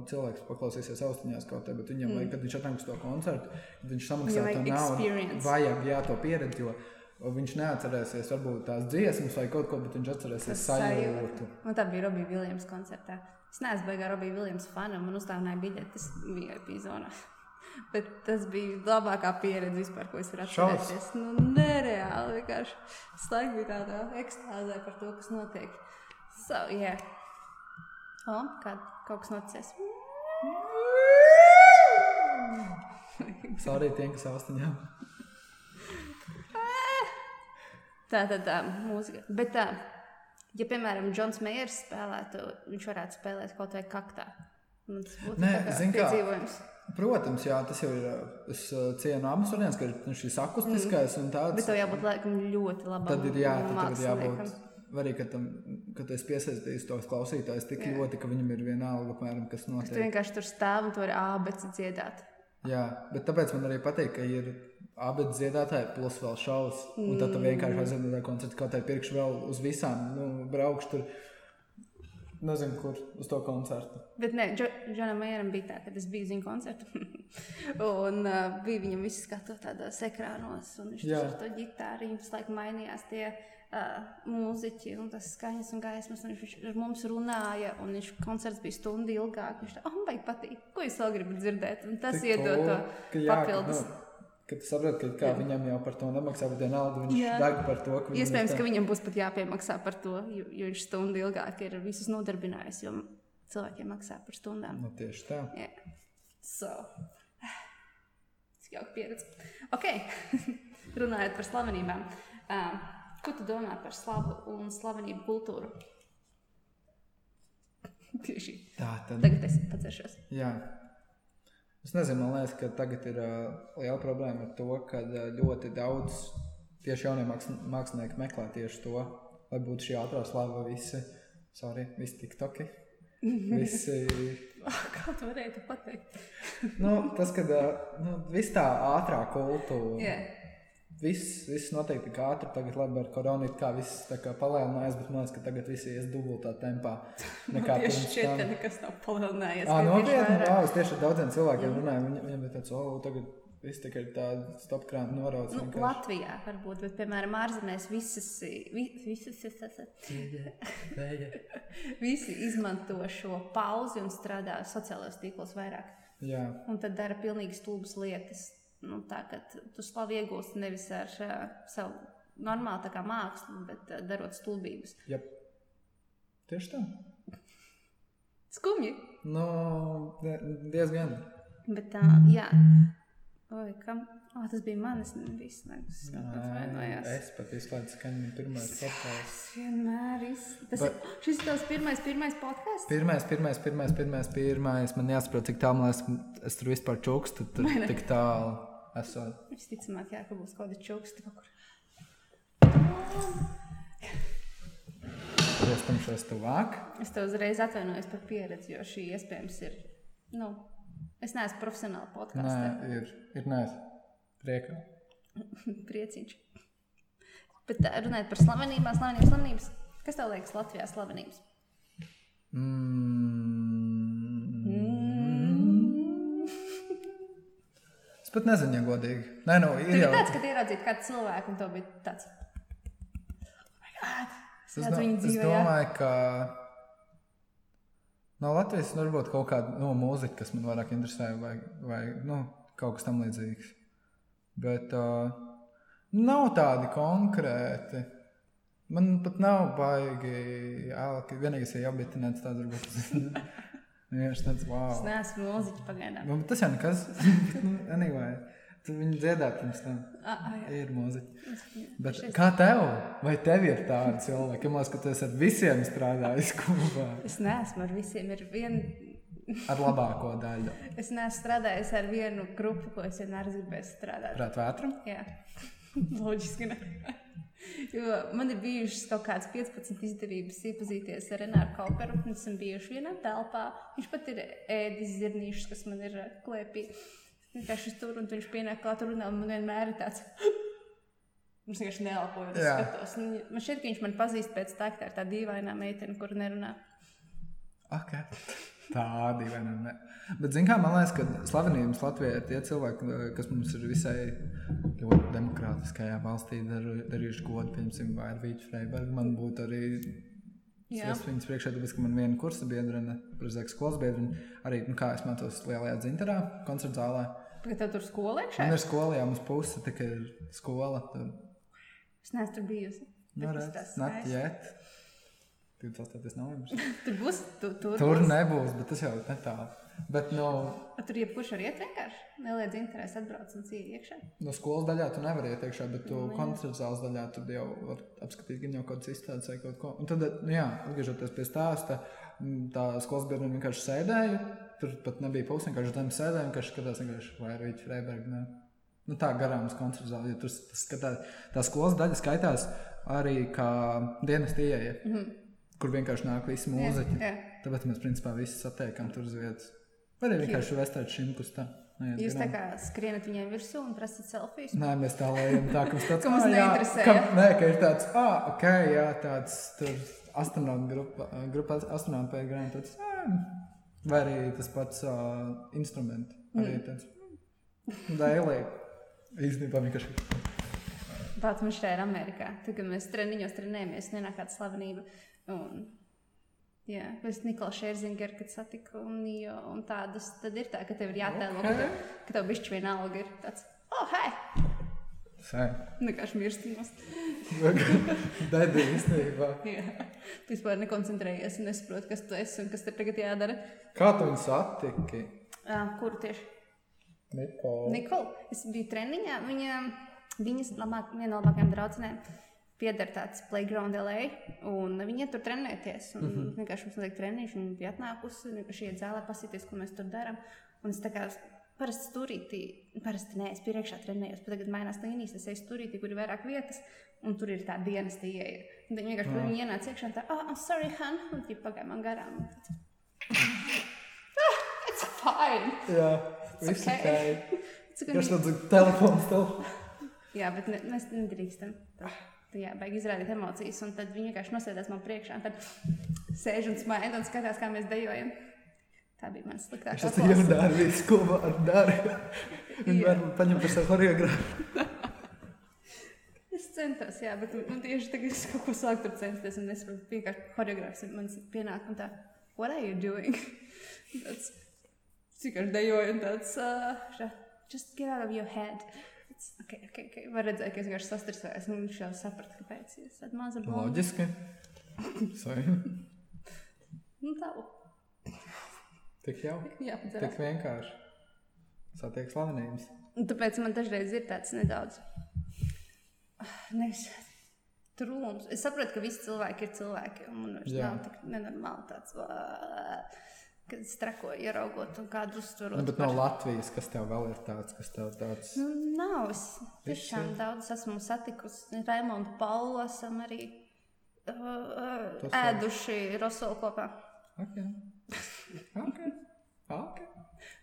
S2: cilvēks paklausīsies austiņās kaut kādā, bet viņam, mm. vajag, kad viņš atnāk uz to koncertu, tad viņš samaksā
S1: Viņam
S2: to
S1: vajag
S2: naudu.
S1: experience.
S2: Vajag jā, to pieredzi, jo viņš neatcerēsies varbūt tās dziesmas vai kaut ko, bet viņš atcerēsies sajūtu.
S1: Man tā bija Robija Viljams koncertā. Es neesmu baigā Robija Viljams fana, man uzdāvināja biļetes VIP zonā. Bet tas bija labākā pieredze vispār, ko es varu
S2: Šausmas.
S1: atcerēties. Nu, nereāli vienkārši. Es laikam biju tādā ekstāzē par to, kas notiek. So, yeah. O, kā kaut kas noticis.
S2: Sorry, tiem, kas austiņā.
S1: Tā tad tā mūzika. Bet, tā, ja, piemēram, Džons Meijers spēlētu, viņš varētu spēlēt kaut vai kaktā. Un Tas būtu
S2: Nē,
S1: tā kā
S2: zini kā?
S1: piedzīvojums.
S2: Protams, jā, tas jau ir. Es uh, cienu abas variantus, ka ir šis akustiskais mm. un tāds.
S1: Bet tev jābūt laikam ļoti labam.
S2: Tad ir jā, tad tev ir
S1: māksliniekam.
S2: jābūt. Arī, kad, tam, kad es piesaistīju tos klausītājus tik
S1: Jā.
S2: ļoti, ka viņam ir vienalga, apmēram, kas
S1: Tu
S2: notiek.
S1: vienkārši tur stāv un tu vari abeci dziedāt.
S2: Jā, bet tāpēc man arī patīk, ka ir abi dziedātāji, plus vēl šovs. Mm. Un tad tu vienkārši aiziet uz koncertu, kaut kā pirkšu vēl uz visām, nu, braukšu tur. Nezinu, kur uz to koncertu.
S1: Bet nē, Džonam Maijeram bija tā, ka es biju uz viņa koncertu. un uh, bija viņam viss skatot tādos ekrānos, un viņš
S2: Jā.
S1: tur ar to ģitāru, viņam visu laiku mainījās tie uh, mūziķi, un tas skaņas un gaismas, un viņš ar mums runāja, un viņš koncerts bija stundu ilgāk. Viņš tā, oh, man vajag patīk, ko jūs vēl gribat dzirdēt, un tas
S2: Tik
S1: iedod
S2: cool,
S1: to
S2: ka jā,
S1: papildus.
S2: Ka, nu, kad tu saproti, ka kā, viņam jau par to nemaksā, bet vienalga viņš
S1: Jā.
S2: deg par to, ka
S1: Iespējams, ka viņam būs pat jāpiemaksā par to, jo, jo viņš stundu ilgāk ir visus nodarbinājis, jo cilvēkiem maksā par stundām.
S2: Nu, tieši tā.
S1: Jā, so. Cik jauka pieredze. Ok, runājot par slavenībām. Uh, ko tu domā par slavu un slavenību kultūru? Tieši
S2: Tā tad.
S1: tagad es paceršos.
S2: Jā. Es nezinu, man liekas, ka tagad ir uh, liela problēma ar to, ka uh, ļoti daudz tieši jaunie māksl mākslinieki meklē tieši to, lai būtu šī ātrā slava visi. Sorry, visi tiktoki. Visi,
S1: Oh, kā tu varēji to pateikt?
S2: nu, tas, kad uh, nu, viss tā ātrā kultūra.
S1: Jā,
S2: Viss, viss notiek tik ātri, tagad labi ar koronu it kā viss tā kā palēnājās, bet man liekas, ka tagad visi ies dubultā tempā. nekā
S1: tieši
S2: pirms
S1: šķiet,
S2: tam.
S1: ka nekas nav palielinājies.
S2: Jā,
S1: ka ir
S2: nopietni.
S1: vairāk.
S2: Jā, es tieši ar daudziem cilvēkiem runāju. Viņ- Viņiem bija tāds, oh, tagad viss tikai tāda stopkrāna norauc.
S1: Nu,
S2: vienkārši."
S1: Latvijā varbūt, bet, piemēram, ārzemēs visas, vi- visas, visas, visi izmanto šo pauzi un strādā sociālajos tīklos vairāk.
S2: Jā,
S1: un tad dara pilnīgi stulbas lietas. Nu, tā kā tu slavu iegūsi nevis ar uh, savu normālu tā kā mākslu, bet uh, darot stulbības.
S2: jā. Tieši tā.
S1: Skumji,
S2: Nu, die- diezgan.
S1: bet uh, jā. Oi, kam? O, tas bija manis nevis. Es
S2: Nē,
S1: atvainojos.
S2: Es pat izslēdzu skaņu pirmais podkāsts.
S1: Es vienmēr esmu. Tas
S2: Bet-
S1: bet... ir šis tavs pirmais, pirmais podkāsts.
S2: Pirmais, pirmais, pirmais, pirmais, pirmais. Man jāsaprot, cik tālu es, es tur vispār čukstu. Tur tik tālu esot.
S1: Visticamāk, jā, ka būs kaut kāda čuksta kaut kur.
S2: Pēc tam šos tuvāk.
S1: Es tev uzreiz atvainojos par pieredzi, jo šī iespējams ir. Nu, es neesmu profesionāla podkāstā.
S2: Nē, ir, ir nē. Priekā.
S1: Prieciņš. Bet tā, runājot par slavenībām, slavenībām, slavenības. Kas tev liekas Latvijā slavenības?
S2: Mm. Es pat nezinu, ja godīgi. Nē, nu,
S1: Tur
S2: ir
S1: bija
S2: jau
S1: tāds, ka ieraudzīji kādu cilvēku, un tev bija tāds "Oh
S2: Es
S1: redzu
S2: do-
S1: viņu
S2: Es
S1: dzīvē, jā.
S2: domāju, ka no Latvijas varbūt kaut kāda no mūzika, kas man vairāk interesē, vai, vai nu, kaut kas tam līdzīgs. Bet uh, nav tādi konkrēti. Man pat nav baigi, ka vienīgais ir jābietinēts tāds, varbūt. Vienkārši tāds,
S1: -
S2: wow.
S1: es neesmu mūziķis pagaidām.
S2: Nu, bet tas jau nekas. Nu, anyway, tu viņu dziedāji pirms tam.
S1: Ah, ah, jā.
S2: Ir mūzika.
S1: Es-
S2: Bet kā tev? Vai tev ir tāda cilvēka? Man liekas, ka tu esi ar visiem strādājis kopā.
S1: Es neesmu ar visiem. Ir vien...
S2: Ar labāko daļu.
S1: Es neesmu strādājis ar vienu grupu, ko es vienmēr gribēju strādāt.
S2: Prāt, vētru?
S1: Jā, loģiski. Ne? Jo man ir bijušas kaut kādas 15 izdevības iepazīties ar Renāru Kalperu. Mēs esam bijuši vienā telpā. Viņš pat ir ēdis zirnīšus, kas man ir eh, klēpī. Es Vienkārši tur un viņš pienāk klāt un runā. un Man vienmēr ir tāds. Viņš vienkārši neelpoja.
S2: Jā.
S1: Es skatos. Un Man šķiet, ka viņš man pazīst pēc tā, ka tā ir tā dīvainā meitene, kur nerunā.
S2: Ok. Tādi vai nu ne. Bet, zinām, man liekas, ka slavenības Latvijā ir tie cilvēki, eh, kas mums ir visai ļoti demokrātiskajā valstī daru- darījuši godu. Piemēram, vai ar Vītu Freibergu man būtu arī.
S1: Jā.
S2: Es viņas priekšā, tāpēc, ka man viena kursa biedrene, prezidents skolas biedrene, arī, nu, kā es mācos lielajā dzinterā, koncerta zālē.
S1: Kad tev tur skolē
S2: Man
S1: šeit?
S2: Nu, ir skola, jā, mums puse tikai ir skola. Tad,
S1: Es neesmu tur bijusi.
S2: nu,
S1: Bet
S2: redz,
S1: tas
S2: not
S1: skaisti.
S2: yet. 28. novembris.
S1: Tur būs, tu, tur,
S2: Tur nebūs, bet tas jau ir netālu. Bet, nu,
S1: A, Tur jebkurš var iet vienkārši neliedz interesi, atbrauc un dzīvo iekšā.
S2: No Nu, skolas daļā tu nevari iet iekšā, bet tu koncerta zāles daļā tu jau vari apskatīt gan jau kaut kādas izstādes vai kaut ko. Un tad, nu jā, atgriežoties pie stāsta, mm, tā skolas biedrene vienkārši sēdēja. Tur pat nebija puses, vienkārši tam sēdēja, vienkārši skatās, vienkārši, vai ir Rīta Freiberga. Nu, tā garām uz koncerta zāli, jo tur s- tas skatās, tā skolas daļa skaitās arī kā dienas ieeja, mm -hmm. kur vienkārši nāk visi mūziķi.
S1: jā.
S2: Tāpēc mēs principā visi satiekam tur uz vietas. Vai arī vienkārši vestēt šim nu kustam. Nē,
S1: Jūs
S2: zinām.
S1: tā kā skrienat viņiem virsū un prasat selfijas.
S2: Nē, mēs tā lejam, tā ka mums tāds
S1: Ka mums
S2: "Ā, jā,
S1: neinteresē,
S2: Ka,
S1: jā.
S2: nē, ka ir tāds, ah, ok, jā, tāds tur astronautu grupa, grupa astronautu pēc grāmatas, tāds, ah, vai arī tas pats uh, instruments. Arī mm. tāds, mm, dēlī. Īstenībā vienkārši.
S1: Tāds mums šeit ir Amerikā. Tad, kad mēs treniņos trenējamies, nenāk kāda slavenība. Un, jā, es Nikolai Šērzingeru, kad satiku Nīju un tādus, tad ir tā, ka tev ir jātēlo, ka, tev- ka tev bišķi vienalga ir tāds, oh, hei!
S2: Sē.
S1: Vienkārši mirstinos.
S2: Dēlī īstenībā.
S1: Jā. Tu vispār nekoncentrējies un nesaproti, kas tu esi un kas tev tagad jādara.
S2: Kā tu viņu satiki?
S1: Uh, kuru tieši?
S2: Nikola.
S1: Nikola, es biju treniņā. Viņa, viņas labāk, viena no labākajām draudzenēm pieder tāds playground LA. Un viņa tur trenēties. Un mm
S2: Mhm.
S1: -hmm. vienkārši mums liek treniņš, un viņa bija atnākusi. un Vienkārši iet zālē, pasīties, ko mēs tur darām. Un es tā kā parasti turītī, parasti nē, es priekšā trenējos, bet tagad mainās līnijas, es eju turītī, kur ir vairāk vietas. Un tur ir tā dienas ieeja. Un Viņa vienkārši mm. ienāca iekšā un tā, ah, oh, I'm sorry, Han, un viņa pagāja man garām. Un tad, Ah, it's fine!
S2: Jā, viss
S1: okay.
S2: tikai.
S1: It's gonna be
S2: Kas tāds - telefons tev?
S1: Jā, bet ne, mēs nedrīkstam. Tā- tā Jā, vajag izrādīt emocijas, un tad viņi vienkārši nosēdās man priekšā. un Tad sēž un smaida un skatās, kā mēs dejojam. Tā bija mana
S2: Viņš
S1: sliktākā
S2: tas jau
S1: klase.
S2: dara, viss, ko var dara. Viņš var paņemt par savu horeogrāfu.
S1: Es centos, jā, bet man tieši tagad es kaut ko sāku tur censties, un es vienkārši choreogrāfs ir mans pienāk un tā, what are you doing? Tāds, es vienkārši dejoju un tāds, uh, šā, just get out of your head. Tāds, Ok, ok, ok. Var redzēt, ka es vienkārši sastresējos, un viņš jau saprata, kāpēc es esmu tāda maza blonda.
S2: Loģiski. Sorry.
S1: Nu, tā, lūk.
S2: Tik jau.
S1: jā, tā
S2: Tik vienkārši. Satiek slavenības.
S1: Un Tāpēc man dažreiz ir tāds nedaudz ah, nevis trūkums. Es saprotu, ka visi cilvēki ir cilvēki. un Man vairs
S2: Jā.
S1: nav tik nenormāli tāds, "Vā", kad es trako ieraugot un kādu uztverot.
S2: Nu, bet no Latvijas, kas tev vēl ir tāds, kas tev tāds
S1: Nu, nav. Es
S2: Viss
S1: tiešām daudz esmu satikusi. Raimonda Paula esam arī uh, uh,
S2: Tas vēl.
S1: ēduši Rosolu kopā.
S2: - ok. Ok. Ok.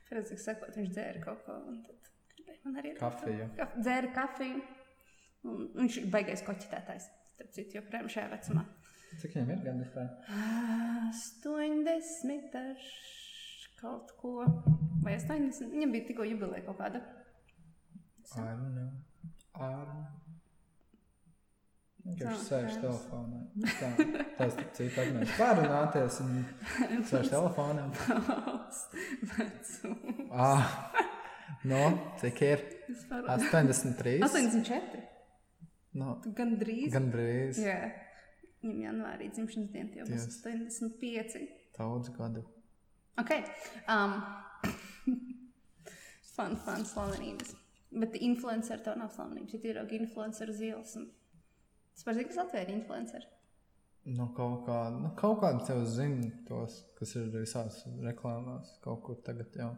S1: Redz, cik sakot, viņš dzēra kaut ko. un tad gribēja Man arī
S2: Kafiju.
S1: Ka- Dzēra kafiju. Un, un viņš ir baigais koķitētājs. Starp citu, joprojām šajā vecumā.
S2: Cik viņam ir gandrīz tā?
S1: 80 ar kaut ko. Vai 80? Viņam bija tikko jubileja kaut kāda.
S2: I don't know. I don't know. Viņš
S1: Tā,
S2: sēž
S1: jā.
S2: telefonā. Nu, Tā, tas cita apmēram. Pārunāties un sēž telefonā.
S1: Vecums.
S2: Ah, no, cik ir?
S1: Vispār-
S2: 83.
S1: 84.
S2: No,
S1: Tu gandrīz. Gan...
S2: Nu, gandrīz
S1: Jā. Viņam janvārī dzimšanas diena tie jau būs 85.
S2: daudz gadu.
S1: Ok. Um, fun, fun, slavenības. Bet influenceri to nav slavenības. Ir tīrāk influenceru zils. Un... Es par zinu, kas atvēra influenceru.
S2: Nu, kaut kā, nu, kaut kādā jau zinu tos, kas ir visās reklāmās, kaut kur tagad jau.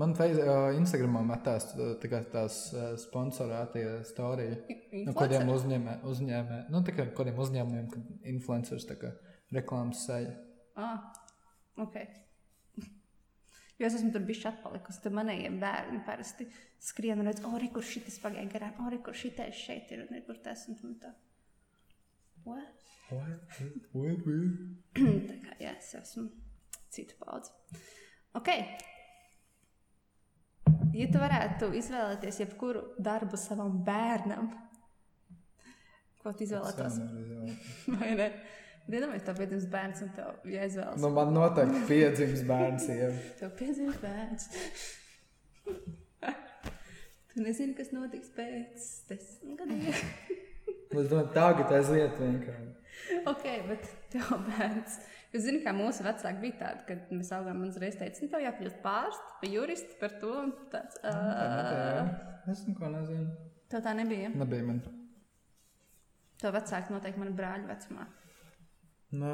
S2: Man feiz, uh, Instagramā metās uh, tikai tās uh, sponsorētie stāstījumi. No kādiem
S1: Influenceri.
S2: uzņēmē, uzņēmē, nu, tā kā kādiem uzņēmumiem, kad influenceris tā kā reklāmas sēja.
S1: Ah, ok. Jo es esmu tur bijusi atpalikusi. Tad manējie bērni parasti skrien un redz, oh, re, kur šis pagāja garām, oh, re, kur šitais šeit ir un re, kur tas un tam tā. What?
S2: Nē,
S1: Mm, Tā kā jā, es esmu citu paudzi. Ok. Ja tu varētu izvēlēties jebkuru darbu savam bērnam, ko tu izvēlētos? Vai ne? Iedomājieties, tev ir piedzimis bērns un tev jāizvēlas.
S2: nu, man noteikti piedzimis bērns jau.
S1: Tev piedzimis bērns. tu nezini, kas notiks pēc desmit gadiem.
S2: Es domāju, tagad aiziet vienkārši.
S1: Ok, bet tev bērns. Jūs zināt, kā mūsu vecāki bija tādi, kad mēs augām, man uzreiz teica, nu, tev jākļūst pārsts, pa juristu par to. un Tāds,
S2: Nu,
S1: uh,
S2: Es neko nezinu.
S1: tev tā nebija.
S2: Nebija man.
S1: Tev vecāki noteikti mani brāļi vecumā.
S2: Nā,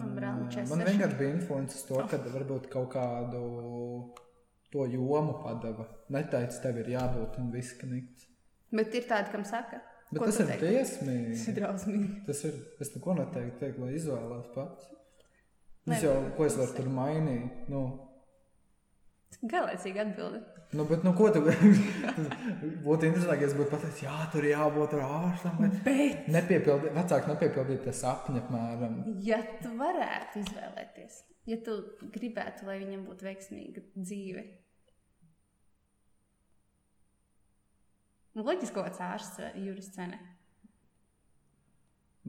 S1: Man brālim
S2: nā.
S1: 46.
S2: man vienkārši bija influences to, ka varbūt kaut kādu to jomu padeva. Neteicis, tev ir jābūt un viss knikts.
S1: Bet ir tādi, kam saka,
S2: Bet tas ir
S1: Tas
S2: tiesmīgi.
S1: ir drausmīgi.
S2: Tas ir. Es neko neteiktu, teiktu, lai izvēlētos pats.
S1: Nē,
S2: Es jau,
S1: nē,
S2: ko es
S1: tas
S2: varu
S1: ir.
S2: tur mainīt? Nu,
S1: Garlaicīga atbilde.
S2: Nu, bet, nu, ko tu būtu interesanti, ja es būtu pateicis, jā, tur jābūt ar ārstam. Bet...
S1: Bet,
S2: Nepiepildīt, vecāki nepiepildīt tas sapni apmēram.
S1: ja tu varētu izvēlēties, ja tu gribētu, lai viņam būtu veiksmīga dzīve, nu, loģiski, ka tas ārsts vai jurists vai ne?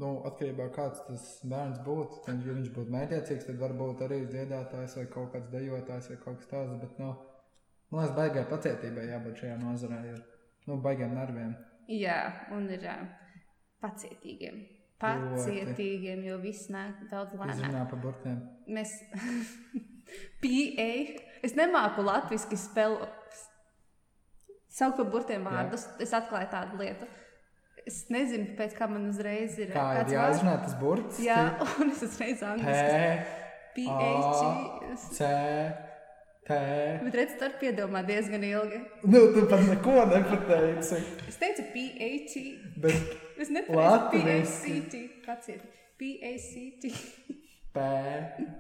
S2: Nu, atkarībā no tā, kāds tas bērns būtu. Tad, ja viņš būtu mētiecīgs, tad varbūt arī dziedātājs vai kaut kāds dejotājs vai kaut kas tāds. Bet, nu, man liekas, baigai pacietībai jābūt šajā nozarē. Ir, nu, baigiem nerviem.
S1: Jā, un ir ā, pacietīgiem. Pacietīgiem, jo viss nāk daudz lēnāk.
S2: Zinām par burtiem.
S1: Mēs PA. Es nemāku latviešu spēlu. Saukt par burtiem vārdus. Jā. Es atklāju tādu lietu. Es nezinu, pēc kā man uzreiz ir.
S2: Kā
S1: kāds
S2: ir jāzina tas
S1: vārds.
S2: burts?
S1: Jā, un es uzreiz
S2: P,
S1: angļuiski.
S2: A,
S1: PAG.
S2: C, T.
S1: Bet redziet, tur piedomā diezgan ilgi.
S2: Nu, tu pat neko nepateici.
S1: Es teicu PAG.
S2: Bet
S1: Es
S2: Latviski.
S1: nepateicu PACT. Paciet. PACT.
S2: P,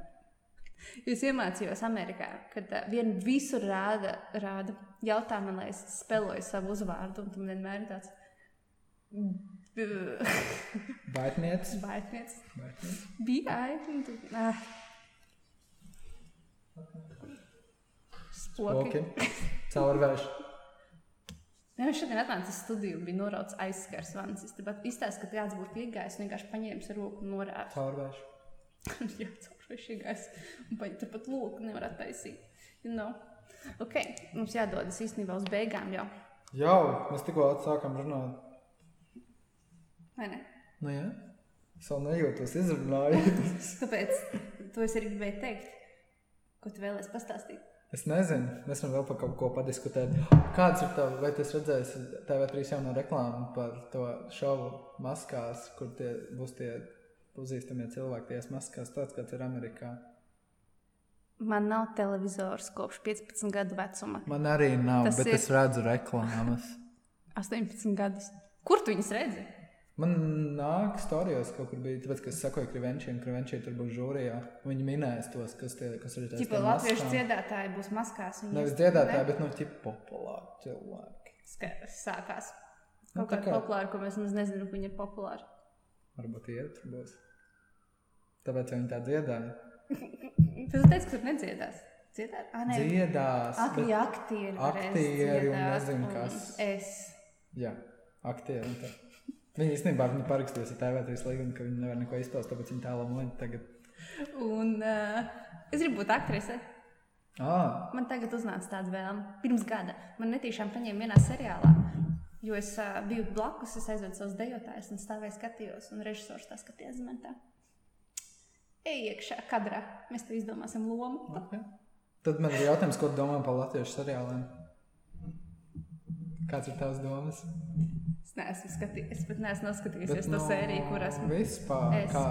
S1: Jūs iemācījāties Amerikā, kad uh, vien visur rāda, rāda jautājumu, lai es spēloju savu uzvārdu, un tam vienmēr ir tāds
S2: baitniec.
S1: baigts.
S2: baitniec.
S1: Bija aizsmeļot, ah. Spoki.
S2: Oki. Caurvērš.
S1: Jā, viņš šodien atnāca uz studiju, un bija norauts aizskars vans. Es tepat izstāstīju, ka kāds būtu iegājis, un vienkārši paņēma ar roku un norādīja.
S2: Caurvērš.
S1: Jā, caurš iegājis, un paņēma turpat lūku, nevar attaisīt. You know? Ok, mums jādodas īstenībā uz beigām jau,
S2: Jau, mēs tikko atsākām runāt.
S1: vai ne?
S2: Nu, jā, es vēl nejūtos izrunājot.
S1: Tāpēc to es arī gribēju teikt. Ko tu vēlēsi pastāstīt?
S2: Es nezinu, mēs varam vēl par kaut ko padiskutēt. Kāds ir tavs, vai tas redzējis TV3 jauno reklāmu par to šovu maskās, kur tie būs tie pazīstamie cilvēki, tie maskās, tāds kāds ir Amerikā?
S1: Man nav televizors kopš 15 gadu vecuma.
S2: Man arī nav,
S1: Tas
S2: tas bet
S1: ir-
S2: ir... es redzu reklāmas.
S1: 18 gadus. Kur tu viņus redzi?
S2: Man nāk, stāstījos kaut kur bija, tāpēc, ka es sekoju Krivenčiem, Krivenčiem tur būs žūrijā. Viņi minēs tos, kas, tie, kas ir tie
S1: Tikko latviešu dziedātāji būs maskās. viņi-
S2: Nevis dziedātāji, bet nu, tie populāri cilvēki.
S1: Ska- sākās.
S2: Nu,
S1: Kaut
S2: tā
S1: kā
S2: kā-
S1: populāra, ko mēs nemaz nezinām, ka viņi ir populāri.
S2: Varbūt tie tur būs. Tāpēc viņi tā dziedāja.
S1: Tad es teicu, ka tur nedziedās. Dziedāt? Ah, nē,
S2: Dziedās.
S1: Ak,
S2: bet-
S1: jā, aktieri. varēs
S2: aktieri un
S1: dziedāt,
S2: nezinu
S1: un
S2: kas.
S1: Es.
S2: Jā, aktieri. un tā. Viņi īstenībā viņi parakstījās ar TV3 līgumu, ka viņi nevar neko izpaust, tāpēc viņi tālāk lēma tagad.
S1: Un uh, es gribu būt aktrise.
S2: Ah,
S1: Man tagad uznāca tāda vēlme. Pirms gada man netīšām paņēma vienā seriālā. Jo es uh, biju blakus, es aizvedu savus dejotājus un stāvēju skatījos, un režisors tā skatījās uz mani. tā. Ej iekšā, kadrā. Mēs tev izdomāsim lomu.
S2: okay. Tad man ir jautājums, ko tu domā par latviešu seriāliem? Kāds ir tavs domas?
S1: Es neesmu skatījies, bet neesmu
S2: Bet,
S1: noskatījies to
S2: nu,
S1: sēriju, kur esmu.
S2: Vispār,
S1: Es.
S2: kā,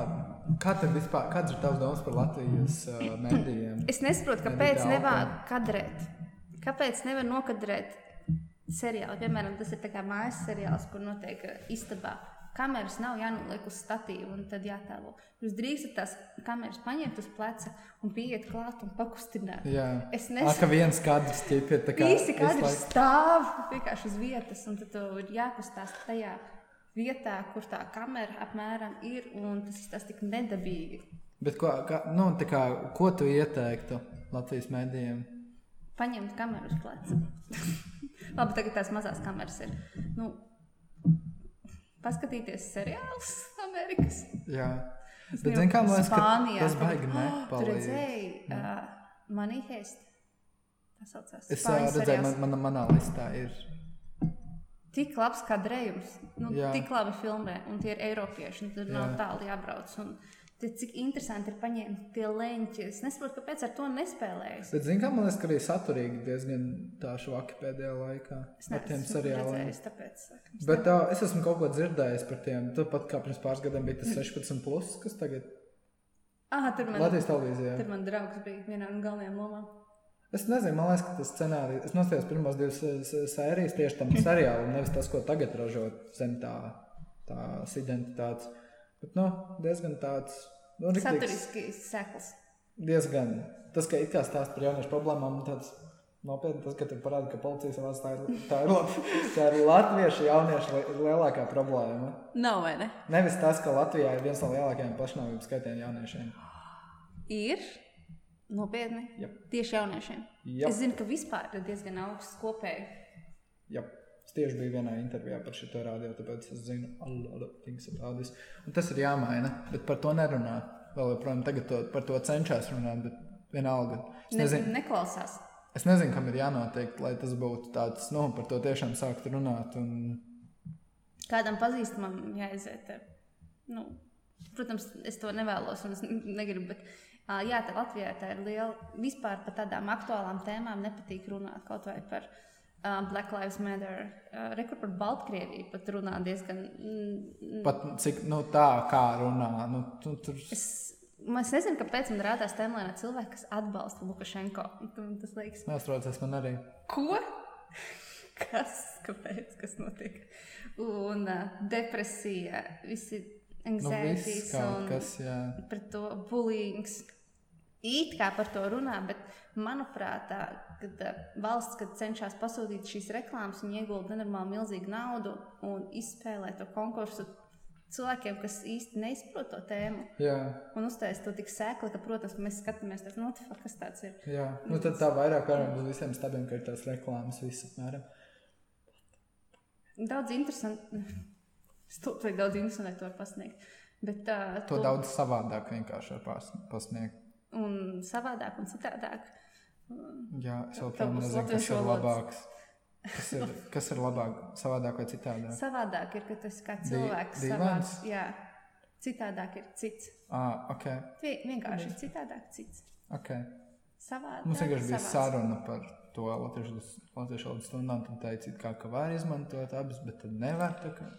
S2: kā tev vispār, kāds ir tavs domas par Latvijas uh, medijiem?
S1: Es nesaprotu,
S2: Nebija
S1: kāpēc
S2: tā
S1: nevar kadrēt. Kāpēc nevar nokadrēt seriālu? Piemēram, tas ir tā kā mājas seriāls, kur notiek eh, istabā. Kameras nav jānoliek uz statīva un tad jātēlo. Jūs drīkstat tās kameras paņemt uz pleca un pieiet klāt un pakustināt.
S2: Jā,
S1: Es
S2: Ā, ka viens kadrs ķip ir tā kā
S1: Visi kadri
S2: visu laiku-
S1: stāv vienkārši uz vietas, un tad tev ir jākustās tajā vietā, kur tā kamera apmēram ir, un tas ir tas tik nedabīgi.
S2: Bet ko, kā, nu, tā kā, ko tu ieteiktu Latvijas mēdījiem?
S1: paņemt kameru uz pleca. Labi, tagad tās mazās kameras ir. Nu, paskatīties seriālus Amerikas.
S2: Jā,
S1: Es
S2: bet
S1: nezinu,
S2: zini, kā man liekas, ka
S1: Spānijā
S2: tas
S1: tagad-
S2: baigi Mm.
S1: Oh, Tu
S2: nepalīdz.
S1: redzēji, uh, Money Heist. Tā saucās.
S2: es ā,
S1: Spāņu
S2: redzēju,
S1: seriāls.
S2: man, man, manā listā ir.
S1: Tik labs kadrējums, nu,
S2: Jā.
S1: tik labi filmē, un tie ir eiropieši, un tur nav
S2: Jā.
S1: tālu jābrauc. Un... Tie, cik interesanti ir paņemt tie leņķi. Es nesaprotu, kāpēc ar to nespēlējas.
S2: Bet, zini, kā man liekas, ka arī saturīgi diezgan tā švaki pēdējā laikā
S1: Es
S2: ar tiem
S1: neesmu
S2: seriāliem.
S1: redzējis, tāpēc. sakams,
S2: Bet tā, es esmu kaut ko dzirdējis par tiem. Tāpat kā pirms pāris gadiem bija tas 16, plus, kas tagad
S1: Ah, tur
S2: ir
S1: man
S2: Latvijas televīzijā.
S1: Tur man draugs bija vienā no galvenajām lomām.
S2: Es nezinu, man liekas, ka tas scenārijs, es nostājos pirmās divas eh, s- s- sērijas tieši tam seriālam, nevis tas, ko tagad ražo zem tā, tās identitātes. Bet, nu, diezgan tāds, nu, riktīgs,
S1: Saturiski sekls.
S2: diezgan. Tas, ka it kā stāsta par jauniešu problēmām, un tāds, Nopietni, tas, ka tu parādi, ka policija savās tā ir, tā ir, lat- tā ir latviešu jauniešu li- lielākā problēma.
S1: Nav, vai ne?
S2: Nevis tas, ka Latvijā ir viens no lielākajiem pašnāvības skaitiem jauniešiem.
S1: Ir nopietni.
S2: Jā.
S1: Tieši jauniešiem.
S2: Jā.
S1: Es zinu, ka vispār ir diezgan augsts kopēji.
S2: Jā, es tieši biju vienā intervijā par šo rādio, tāpēc es zinu, kādas ir. Tas ir jāmaina, bet par to nerunā. Vēl joprojām tagad to, par to cenšas runāt, bet vienalga. Es
S1: Ne,
S2: nezinu,
S1: neklausās.
S2: es nezinu, kam ir jānotiek, lai tas būtu tāds, nu, par to tiešām sākt runāt. Un...
S1: Kādam pazīstamam jāiziet. ar- Nu, protams, es to nevēlos, un es negribu. Bet, ā, jā, tā Latvijā tā ir liela. Vispār par tādām aktuālām tēmām nepatīk runāt kaut vai par. ā, Black Lives Matter, uh, rekur par Baltkrieviju pat runā diezgan. mm,
S2: Pat cik nu, tā, kā runā, nu, tu, tur
S1: Es, es nezinu, kāpēc man rādās tēmā cilvēki, kas atbalsta Lukašenko. Un Tas liekas,
S2: neuztraucies man arī.
S1: Ko? Kas, kāpēc, kas notiek? Un uh, depresija, visi
S2: Nu,
S1: anxieties
S2: viss kaut
S1: un
S2: kas, jā.
S1: par to bulīgs. It kā par to runā, bet manuprāt, tā, kad uh, valsts kad cenšas pasūtīt šīs reklāmas, viņi iegulda nenormāli milzīgu naudu un izspēlē to konkursu cilvēkiem, kas īsti neizprot to tēmu.
S2: jā.
S1: Un uztaisīt to tik sēkli, ka, protams, mēs skatāmies, tas nu, notiek, kas tāds ir.
S2: Jā, nu tad tā vairāk varam uz visiem stabiem, ka ir tās reklāmas visu apmēram.
S1: Daudz interesanti. Stulbi, vai daudz interesanti to var pasniegt. Bet uh,
S2: To daudz savādāk vienkārši var pas- pasniegt.
S1: Un savādāk un citādāk.
S2: Jā, es
S1: Tā
S2: joprojām
S1: būs
S2: nezinu, kas
S1: latviešu
S2: ir
S1: valodas.
S2: labāks. Kas ir, kas ir labāk, savādāk vai citādāk?
S1: Savādāk ir, ka tas kā
S2: Di-
S1: cilvēks
S2: dīvains?
S1: savāds- Jā, citādāk ir cits.
S2: Ah, ok,
S1: Vie- Vienkārši ir citādāk, cits.
S2: ok.
S1: Savādāk.
S2: Mums vienkārši bija
S1: savāds.
S2: saruna par to latviešu latviešu valodas stundām. Tad teicāt, kā, ka var izmantot abas, bet tad nevar. tā Kā...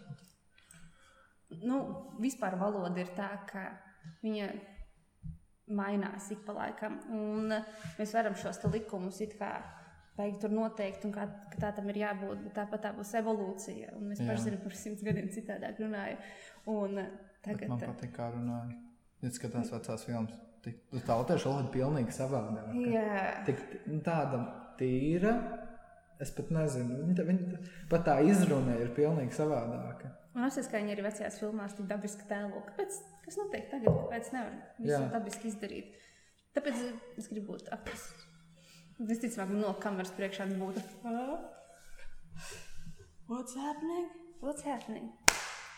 S1: nu, vispār valoda ir tā, ka viņa mainās ik pa laikam. Un eh, mēs varam šos te likumus it kā beigt tur noteikti, un kā, ka tā tam ir jābūt. Bet tāpat tā būs evolūcija. Un mēs
S2: Jā.
S1: paši zinām, par simts gadiem citādāk runājam. Un eh,
S2: Bet man
S1: tagad.
S2: patīk, kā runāja. Es skatos vecās filmas. Tik- Tā latviešu valoda ir pilnīgi savādāka.
S1: Jā,
S2: tik nu, tāda tīra. Es pat nezinu, viņa, tā- viņa tā- pat tā izruna ir pilnīgi savādāka.
S1: man liekas, ka viņi arī vecajās filmās tik dabiski tēlo. Kāpēc? Kas notiek tagad? Kāpēc nevar visu
S2: Jā.
S1: dabiski izdarīt? Tāpēc eh, es gribu būt aktris. Visticamāk, man no kameras priekšā būtu. What's happening? What's happening?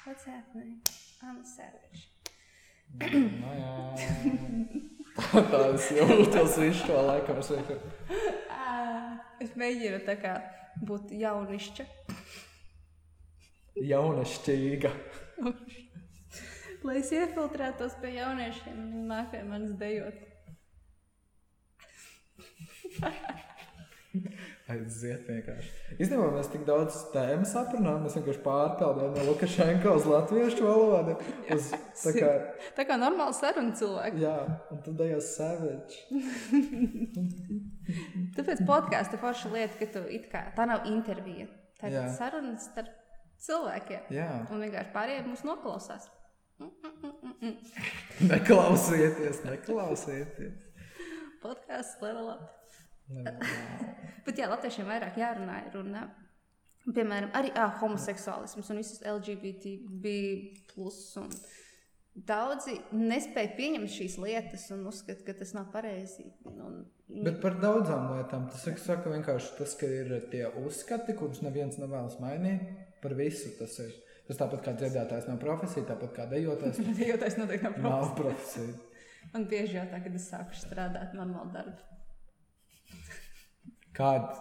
S1: What's happening? I'm a savage.
S2: No, Nu, jā. tā es jūtos visu šo laiku. Es vienkār-
S1: Ah, es mēģinu tā kā būt jaunišķa.
S2: Jaunišķīga.
S1: Lai es iefiltrētos pie jauniešiem, viņi mākē manis dejot.
S2: Aiziet vienkārši. Īstenībā mēs tik daudz tēmu saprunājām, mēs vienkārši pārpeldējām no Lukašenko uz latviešu valodu. Uz, tā kā,
S1: Tā kā normāli saruna cilvēki.
S2: jā, un tad dejās savage.
S1: Tāpēc podkāstu forša lieta, ka tu it kā tā nav intervija. Tā ir
S2: Jā.
S1: saruna starp cilvēkiem.
S2: Jā,
S1: Un vienkārši pārējie mūs noklausās. Mm, mm, mm, mm, mm.
S2: neklausieties, neklausieties.
S1: Podkāsts, lai labi.
S2: Nevajag.
S1: Bet jā, latviešiem vairāk jārunā ir un, ā, piemēram, arī ah, homoseksuālisms un visas LGBTB. Un daudzi nespēja pieņemt šīs lietas un uzskata, ka tas nav pareizi. Un,
S2: Bet par daudzām lietām. Tas ir saka, vienkārši tas, ka ir tie uzskati, kurus neviens nevēlas mainīt. Par visu tas ir. Tas tāpat kā dzirdētājs nav profesija, tāpat kā dejotājs
S1: Jo tas noteikti nav
S2: nav profesija.
S1: Man bieži jautā, kad es sāku strādāt normālu darbu.
S2: Kāda?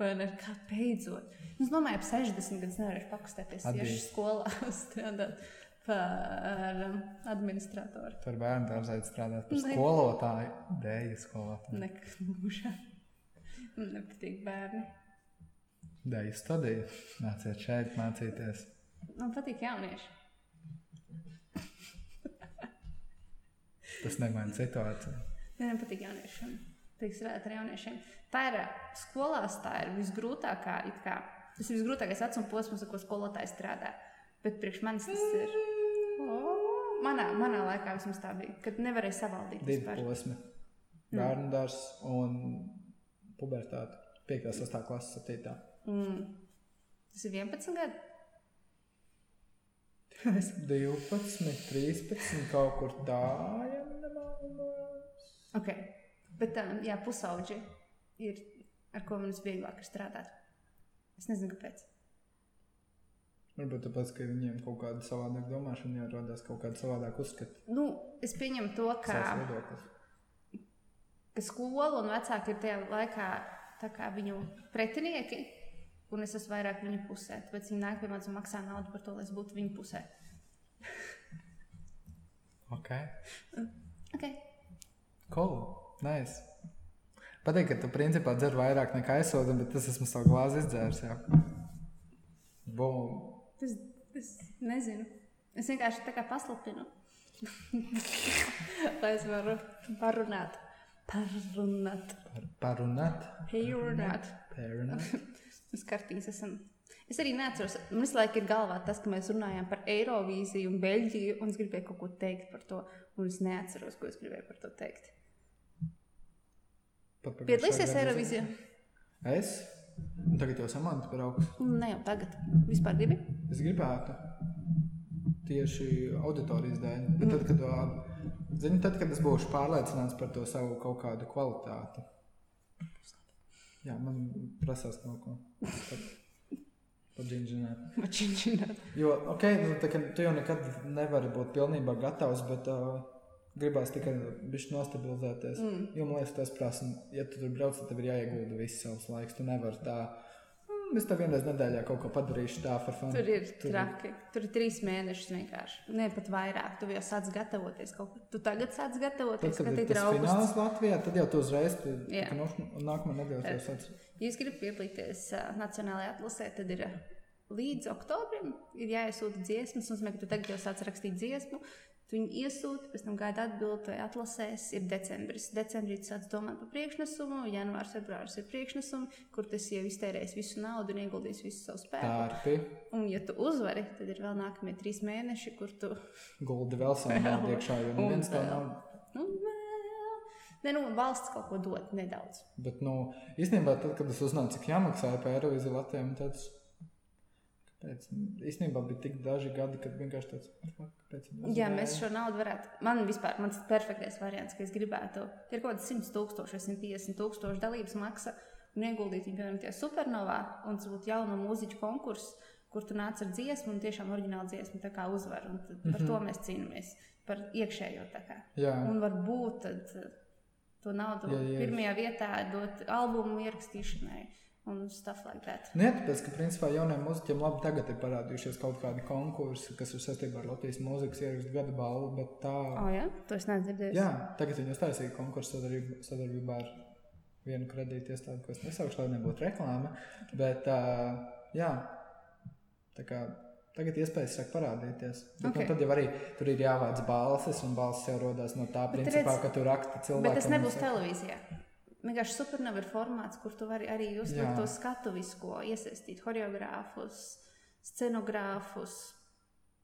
S1: Vai ne? Kā beidzot? Nu, Es domāju, ap 60 gadus nevarēšu pakustēties
S2: Atbildi.
S1: tieši skolā strādāt par um, administratoru.
S2: Tur bērnu dārzā ir strādāt par
S1: Ne.
S2: skolotāju, dēļu skolotāju,
S1: Nekad mūžā. Man nepatīk bērni.
S2: dēļu studiju. Nāciet šeit, mācīties.
S1: Man patīk jaunieši.
S2: Tas nemaina situāciju.
S1: Vienam patīk jaunieši. un Patīk strādāt ar jauniešiem. Tā ir ā, skolās, tā ir visgrūtākā. it Kā, tas ir visgrūtākais vecuma posms, ar ko skolotājs strādā. Bet priekš manis tas ir. O, Manā, manā laikā vismaz tā bija, kad nevarēja savaldīt
S2: Divi
S1: vispār.
S2: posmi. Bērnu dārzs un pubertāti. 5, 6, klases, 7.
S1: Mm. Tas ir 11 gadi.
S2: 12, 13, kaut kur tā, ja nemaldos.
S1: Ok. Bet, um, jā, pusauģi ir ar ko man visvieglāk ir strādāt. Es nezinu, kāpēc.
S2: Varbūt tāpēc, ka viņiem kaut kāda savādāka domāšana jau radās kaut kāda savādāka uzskata.
S1: Nu, es pieņemu to, ka,
S2: savs viedoklis.
S1: ka skola un vecāki ir tajā laikā tā kā viņu pretinieki, un es esmu vairāk viņu pusē. Tāpēc viņi nāk pie manis un maksā naudu par to, lai es būtu viņu pusē.
S2: Ok,
S1: Ok,
S2: cool, nice. Patīk, ka tu principā dzer vairāk nekā es sodu, bet es esmu savu glāzi izdzēris. Jā. Boom.
S1: tas, tas nezinu. Es vienkārši tā kā paslapinu. lai es varu parunāt. Parunāt.
S2: Par, parunāt.
S1: Parunāt.
S2: Parunāt.
S1: Mēs kartīs esam. Es arī neatceros, man visu laiku ir galvā tas, ka mēs runājām par Eirovīziju un Beļģiju, un es gribēju kaut ko teikt par to, un es neatceros, ko es gribēju par to teikt.
S2: Pat pagājušā
S1: Piedalīsies
S2: gada
S1: Eirovīzijā?
S2: Es? Nu, Tagad jau samantu par augstu.
S1: Nē, Mm, jau tagad. Vispār gribi?
S2: Es gribētu tieši auditorijas dēļ.
S1: Mm.
S2: Bet Tad, kad, ā, zini, tad, kad es būšu pārliecināts par to savu kaut kādu kvalitāti, jā, man prasās kaut ko padziļināt.
S1: Mačiņšināt.
S2: Jo, ok, nu, tā kā tu jau nekad nevari būt pilnībā gatavs, bet uh, gribēs tikai bišķi nostabilizēties. Mm. Jo, man liekas, tas prasa, ja tu tur brauc, tad tev ir jāiegulda viss savs laiks. Tu nevari tā, mm, es tev vienreiz nedēļā kaut ko padarīšu tā, par fanu.
S1: Tur ir traki. Tur ir trīs mēnešus vienkārši. Nē, pat vairāk. Tu jau sāc gatavoties kaut kā. Tu tagad sāc
S2: Tad,
S1: gatavoties,
S2: kad
S1: ka
S2: ir
S1: tie ir
S2: tas
S1: augusts.
S2: fināls Latvijā, tad jau tu uzreiz
S1: Jā.
S2: tur nākamā nedēļa jau sāc.
S1: Ja jūs gribat piedalīties uh, Nacionālajā atlasē, tad ir ā, līdz oktobrim ir jāiesūta dziesmas. Tas nozīmē, ka tu tagad jau sāc rakstīt dziesmu. Tu viņu iesūti, pēc tam gaida atbildi, vai atlasēs, ir decembris. Decembrī tu sāc domāt par priekšnesumu, janvārs, februāris ir priekšnesumi, kur tas jau iztērējis visu naudu un ieguldījis visu savu spēku.
S2: Tārpi,
S1: Un, ja tu uzvari, tad ir vēl nākamie trīs mēneši, kur tu
S2: guldi vēl savu naudu iekšā, jo
S1: Un
S2: neviens to
S1: vēl.
S2: nav.
S1: Nu, vēl. Nē, nu, valsts kaut ko dod nedaudz.
S2: Bet, nu, īstenībā, tad, kad es uzzināju, cik jāmaksā par Eirovizu Latvijam, tad kāpēc? Īstenībā bija tik daži gadi, kad vienkārši tāds - kāpēc?
S1: Jā, mēs šo naudu varētu. Man vispār ir tas perfektais variants, ka es gribētu. Ir kaut kāds 100 tūkstoši, 150 tūkstoši dalības maksa un ieguldīt viņu, piemēram, tajā supernovā. Un tas būtu jauno mūziķu konkurss, kur tu nāc ar dziesmu un tiešām oriģinālu dziesmu tā kā uzvaru. Un tad par to mēs cīnāmies. Par iekšējo tā kā.
S2: Mhm. Jā,
S1: Un varbūt tad eh, to naudu
S2: Jā, jā.
S1: pirmajā vietā dot albumu ierakstīšanai un stuff like that.
S2: Nē, Nu, tāpēc, ka principā jauniem mūziķiem labi tagad ir parādījušies kaut kādi konkursi, kas ir saistībā ar Latvijas mūzikas ierakstu gada balvu, bet tā,
S1: O, oh, jā, to es neesmu dzirdējis.
S2: jā, tagad viņi uztaisīja konkursu sadarbībā, sadarbībā ar vienu kredītu iestādi, ko es nesaukšu, lai nebūtu reklāma, bet uh, jā, tā kā tagad iespējas sāk parādīties. Bet,
S1: Ok.
S2: okay. Tad jau arī tur ir jāvāc balsis, un balsis jau rodās no tā
S1: Bet
S2: principā,
S1: redz,
S2: ka tu rakti cilvēku.
S1: Bet tas nebūs televīzijā. Vienkārši supernova ir formāts, kur tu vari arī uzlikt
S2: Jā.
S1: to skatu visko, iesaistīt choreogrāfus, scenogrāfus.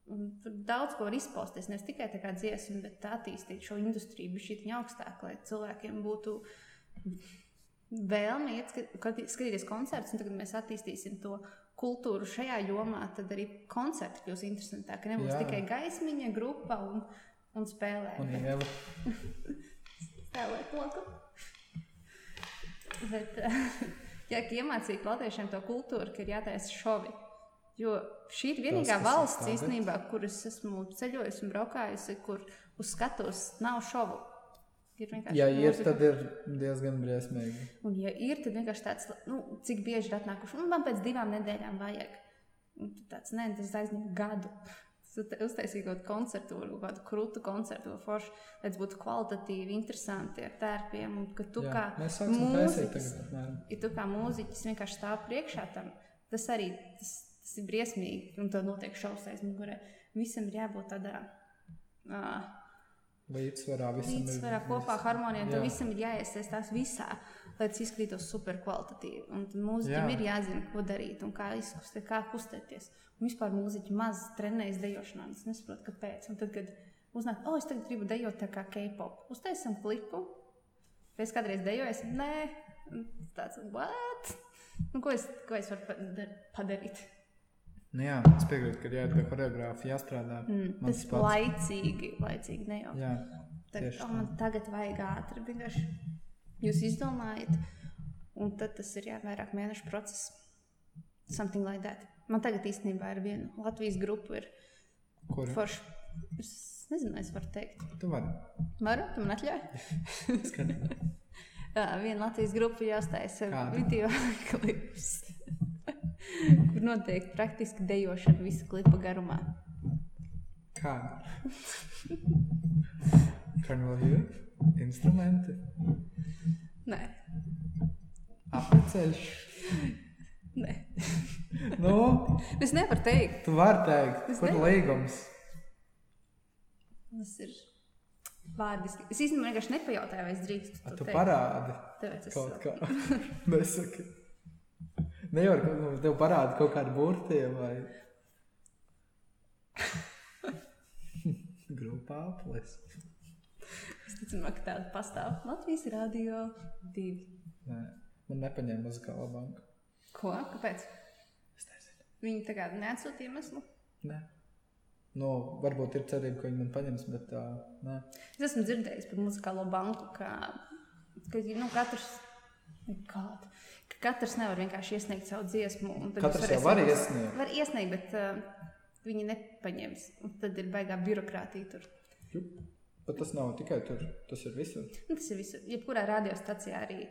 S1: Un Tur daudz ko var izpausties, ne tikai tā kā dziesma, bet attīstīt šo industriju, bet šī viņa augstāk, lai cilvēkiem būtu vēlme iet skat- kad- skatīties koncertus, un tagad mēs attīstīsim to kultūru šajā jomā, tad arī koncerti kļūs interesantāki. Nebūs
S2: Jā.
S1: Jā. tikai gaismiņa, grupa un, un spēlē.
S2: Un Ieva,
S1: spēlēt loku. Bet, ja iemācīt latviešiem to kultūru, ka ir jātaisa šovi. Jo šī ir vienīgā
S2: Tas, kas
S1: Tas,
S2: ir
S1: valsts
S2: tagad.
S1: īstenībā, kur es esmu ceļojis un braukājusi, kur uz skatuves nav šovu. Ir vienkārši
S2: ja ir,
S1: mūzika.
S2: tad ir diezgan briesmīgi.
S1: Un, ja ir, tad vienkārši tāds, nu, cik bieži ir atnākuši, nu, man pēc divām nedēļām vajag. Un tu tāds, nē, tas aizņem gadu. Uztaisīt kaut kādu koncertu, kaut kādu krūtu koncertu, vai foršu, lai tas būtu kvalitatīvi, interesanti ar tērpiem. Un ka tu
S2: Jā,
S1: kā
S2: mēs sāksim taisīt
S1: mūziķis-
S2: tagad. apmēram.
S1: ja tu kā mūziķis vienkārši stāv priekšā tam, tas arī tas, tas ir briesmīgi. Un tev notiek šausmas aiz mugurē. Visam ir jābūt tādā. Uh,
S2: Līdzsvarā visam ir-
S1: līdzsvarā, kopā harmonijā.
S2: Jā.
S1: Tam visam ir jāiesaistās visā, lai tas izskatītos super kvalitatīvi. Un tad mūziķim
S2: Jā.
S1: Jā. ir jāzina, ko darīt un kā, izkustē, kā kustēties. Un vispār mūziķi maz trenējas dejošanā. un Es nesaprotu, kāpēc. Un tad, kad uznāk, oh, es tagad gribu dejot tā kā K-pop, uztaisam klipu. Es kādreiz dejoju, es nē, Un Tāds, what? Nu, ko, es, ko es varu padar padarīt?
S2: Nu, jā, es piekrītu, ka ir jāiet pie choreogrāfa, jāstrādā.
S1: Mm,
S2: Man
S1: tas
S2: tas pats.
S1: laicīgi, laicīgi ne jau.
S2: Jā,
S1: Tagad,
S2: tieši
S1: oh,
S2: tā.
S1: man tagad vajag ātri. Vienkārši jūs izdomājat, un tad tas ir jā, vairāk mēnešu process. Something like that. Man tagad īstenībā ir viena Latvijas grupa, ir
S2: Kur?
S1: forša. Es nezinu, vai es varu teikt.
S2: Tu vari.
S1: Varu, tu man atļauj?
S2: Skat-
S1: Jā, viena Latvijas grupa ir jāuztais ar
S2: Kāda?
S1: video klips, kur notiek praktiski dejošana visu klipa garumā.
S2: Kāda? Karnevāļu instrumenti.
S1: Nē,
S2: Apceļš.
S1: nē.
S2: Nu,
S1: Es nevaru teikt.
S2: tu vari teikt,
S1: Es
S2: kur
S1: nevaru.
S2: līgums.
S1: Tas ir vārdiski. Es īstenībā vienkārši nepajautāju, vai es drīkstu
S2: A,
S1: to
S2: Tu
S1: teikt.
S2: parādi
S1: Tāpēc es
S2: kaut kā. Nesaki. Nevar, nu, tev parādi kaut kādu burtiem vai. Grupā aplis.
S1: Es ticu, ka tāda pastāv. Latvijas radio divi.
S2: Nē, man nepaņēma muzikāla banka.
S1: Ko? Kāpēc?
S2: Es nezinu.
S1: Viņi tā kā neatsūta iemeslu.
S2: Nē. Nu, varbūt ir cerība, ka viņi man paņems, bet uh, nē.
S1: Es esmu dzirdējis par muzikālo banku, ka, ka nu, katrs, kād, ka katrs nevar vienkārši iesniegt savu dziesmu. un tad
S2: Katrs
S1: jūs
S2: jau var
S1: varēsiet-
S2: iesniegt.
S1: Var iesniegt, bet uh, viņi nepaņems. Un tad ir baigā birokrātija tur.
S2: Jup. Bet tas nav tikai tur, tas ir visur.
S1: Nu, Tas ir visur. Jebkurā radiostacijā arī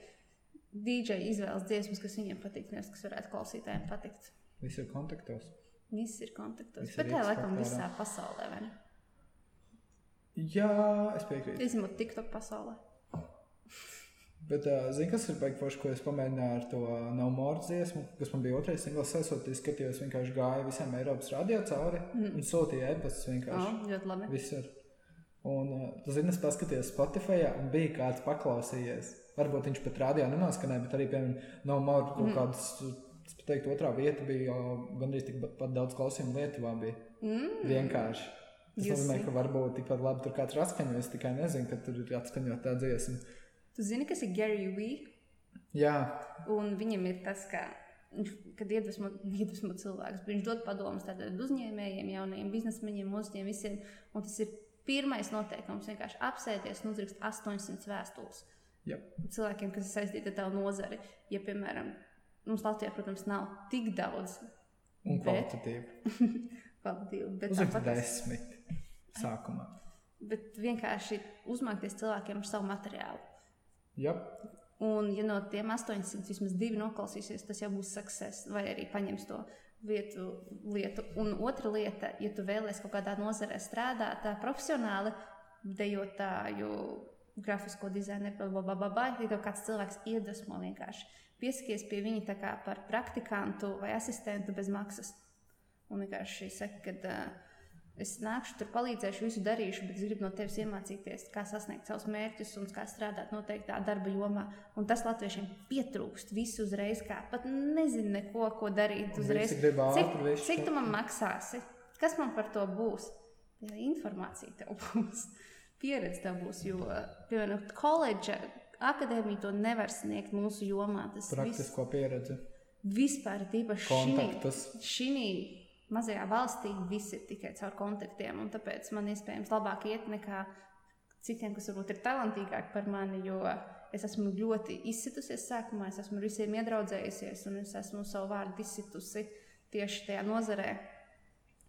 S1: DJ izvēlas dziesmas, kas viņiem patīk, nevis kas varētu klausītājiem patikt.
S2: Visur kontaktos.
S1: Viss ir kontaktos.
S2: Viss ir
S1: Bet tā
S2: X
S1: laikam
S2: faktorā.
S1: visā pasaulē, vai ne?
S2: Jā, es piekrītu.
S1: Izņemot TikTok pasaulē.
S2: Bet, uh, zini, kas ir baigts, ko es pamēģināju ar to no more dziesmu, kas man bija otrais singls, aizsūtījis, skatījos, vienkārši gāju visiem Eiropas radio cauri mm. un sūtīju e-pastus vienkārši.
S1: Oh, ļoti labi.
S2: Visur. Un uh, tu zini, es paskatījos Spotify, un bija kāds paklausījies. Varbūt viņš pat rādījā nenoskanēja, bet arī, piemēram, no Maura
S1: Mhm.
S2: kaut mm. kādas, es pat teiktu, otrā vieta bija o, gandrīz tikpat daudz klausījumu Lietuvā. Bija.
S1: Mm,
S2: Vienkārši. Es
S1: Jūs-
S2: domāju, ka varbūt tikpat labi tur kāds ir atskaņojis, tikai nezinu, ka tur ir atskaņota tā dziesma.
S1: tu zini, kas ir Gary Vee?
S2: Jā,
S1: Un viņam ir tas, ka, viņš- kad iedvesmo, iedvesmo cilvēks, viņš dod padomus tādiem uzņēmējiem, jauniem biznesmeņiem, mūziķiem, visiem. Un tas ir pirmais noteikums - vienkārši apsēties un uzrakstīt 800 vēstules.
S2: jā.
S1: cilvēkiem, kas ir saistīti ar tavu nozari. Ja, piemēram, mums Latvijā, protams, nav tik daudz
S2: un
S1: Bet-
S2: kvalitatīvi.
S1: kvalitātīvu, bet,
S2: Uzlikt
S1: tāpat-
S2: desmit sākumā.
S1: bet vienkārši uzmākties cilvēkiem ar savu materiālu.
S2: Jā,
S1: Un, ja no tiem 800 vismaz divi noklausīsies, tas jau būs success, vai arī paņems to vietu, lietu. Un otra lieta, ja tu vēlēsies kaut kādā nozarē strādāt, tā profesionāli, dejotāju, grafisko dizaineru, bla, bla, bla, bla, ja tev kāds cilvēks iedvesmo vienkārši. Pieskaties pie viņa tā kā par praktikantu vai asistentu bez maksas. Un vienkārši saka, ka uh, es nākšu, tur palīdzēšu, visu darīšu, bet es gribu no tevis iemācīties, kā sasniegt savus mērķus un kā strādāt noteiktā darba jomā. Un tas latviešiem pietrūkst visu uzreiz, kā pat nezinu neko, ko darīt
S2: Un
S1: uzreiz.
S2: visi grib
S1: Cik,
S2: ātri, visu
S1: cik tu
S2: kaut-
S1: man maksāsi? Kas man par to būs? Jā, informācija tev būs, pieredze tev būs, jo, piemēram, koledža akadēmija to nevar sniegt mūsu jomā. Tas viss
S2: praktisko pieredzi.
S1: vispār ir īpaši
S2: Kontaktus.
S1: šī mazajā valstī, viss ir tikai caur kontaktiem. un Tāpēc man iespējams labāk iet nekā citiem, kas varbūt ir talantīgāki par mani. Jo es esmu ļoti izsitusies sākumā, es esmu ar visiem iedraudzējusies, un es esmu savu vārdu izsitusi tieši tajā nozarē.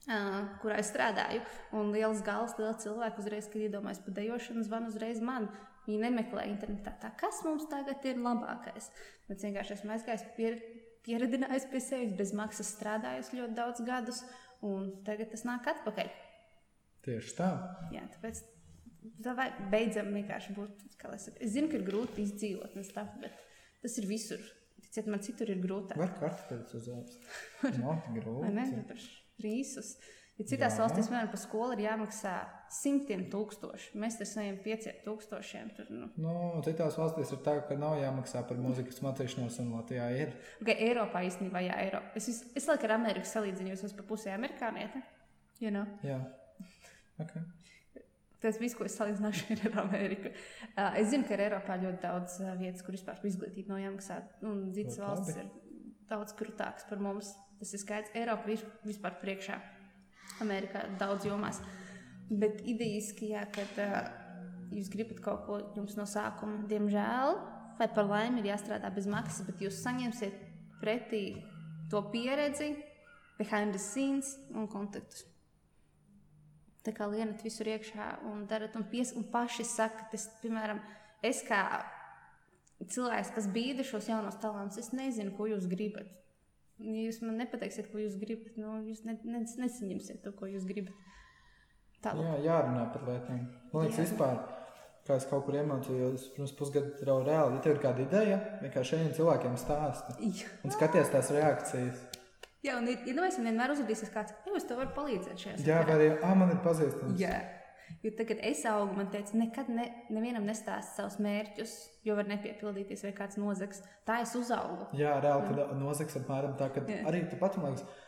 S1: ā, Kurā es strādāju, un liels gals, liela cilvēka uzreiz, kad iedomājas par dēlošanu, zvana uzreiz man. Viņi nemeklē internetā, tā, kas mums tagad ir labākais. Bet vienkārši esmu aizgājis, pier, pieradinājis pie sevis, bez maksas strādājis ļoti daudz gadus, un tagad tas nāk atpakaļ.
S2: Tieši tā.
S1: Jā, tāpēc tā vai beidzam vienkārši būt. kā lai saka, Es zinu, ka ir grūti izdzīvot, un stuff, bet tas ir visur. Ticiet, man citur ir grūtāk.
S2: Var kartupēļus uzēst. Nav tik
S1: Vai ne?
S2: grūti.
S1: Nu, Par rīsus. Ja citās
S2: Jā.
S1: valstīs, piemēram, par skolu ir jāmaksā simtiem tūkstoši. Mēs ar saviem pieciem tūkstošiem tur nu,
S2: Nu, citās valstīs ir tā, ka nav jāmaksā par mūzikas mācīšanos, un Latvijā ir.
S1: Okay, Eiropā īstenībā, jā, Eiropā. Es, vis- es laikam ar Ameriku salīdzinu, jūs esat pa pusē amerikānieti. You know?
S2: Jā, okay.
S1: Tas viss, ko es salīdzināšu, ir ar Ameriku. Uh, es zinu, ka ir Eiropā ļoti daudz uh, vietas, kur vispār par izglītību nav jāmaksā. Un citas
S2: Ļoti
S1: valstis
S2: labi.
S1: ir daudz grūtākas par mums. Tas ir skaidrs. Eiropa ir vispār priekšā. Amerikā daudz jomās. Bet idejiski, jā, kad uh, jūs gribat kaut ko jums no sākuma, diemžēl, vai par laimi, ir jāstrādā bez maksas, bet jūs saņemsiet pretī to pieredzi, behind the scenes un kontaktus. Tā kā lienat visur iekšā un darat, un, pies, un paši sakat, es, piemēram, es kā cilvēks, kas bīda šos jaunos talantus, es nezinu, ko jūs gribat. Ja jūs man nepateiksiet, ko jūs gribat, nu, jūs ne, ne, nesaņemsiet to, ko jūs gribat. Tālāk.
S2: Jā, jārunā par lietām. Man liekas,
S1: Jā.
S2: vispār, kā es kaut kur iemācījos, pirms pusgada jau reāli, ja tev ir kāda ideja, vienkārši šiem cilvēkiem stāsta
S1: Jā.
S2: un skaties tās reakcijas.
S1: Jā, un ir, ir nu, vienmēr uzvedīsies kāds, jau es tev varu palīdzēt šajā
S2: Jā, vai arī, ah, man ir pazīstams.
S1: Jā. Jo tad, kad es augstu, man teica, nekad ne, nevienam nestāst savus mērķus, jo var nepiepildīties vai kāds nozags. Tā es uzaugu.
S2: Jā, reāli, kad nozags apmēram tā, ka
S1: Jā.
S2: arī tepat, man liekas,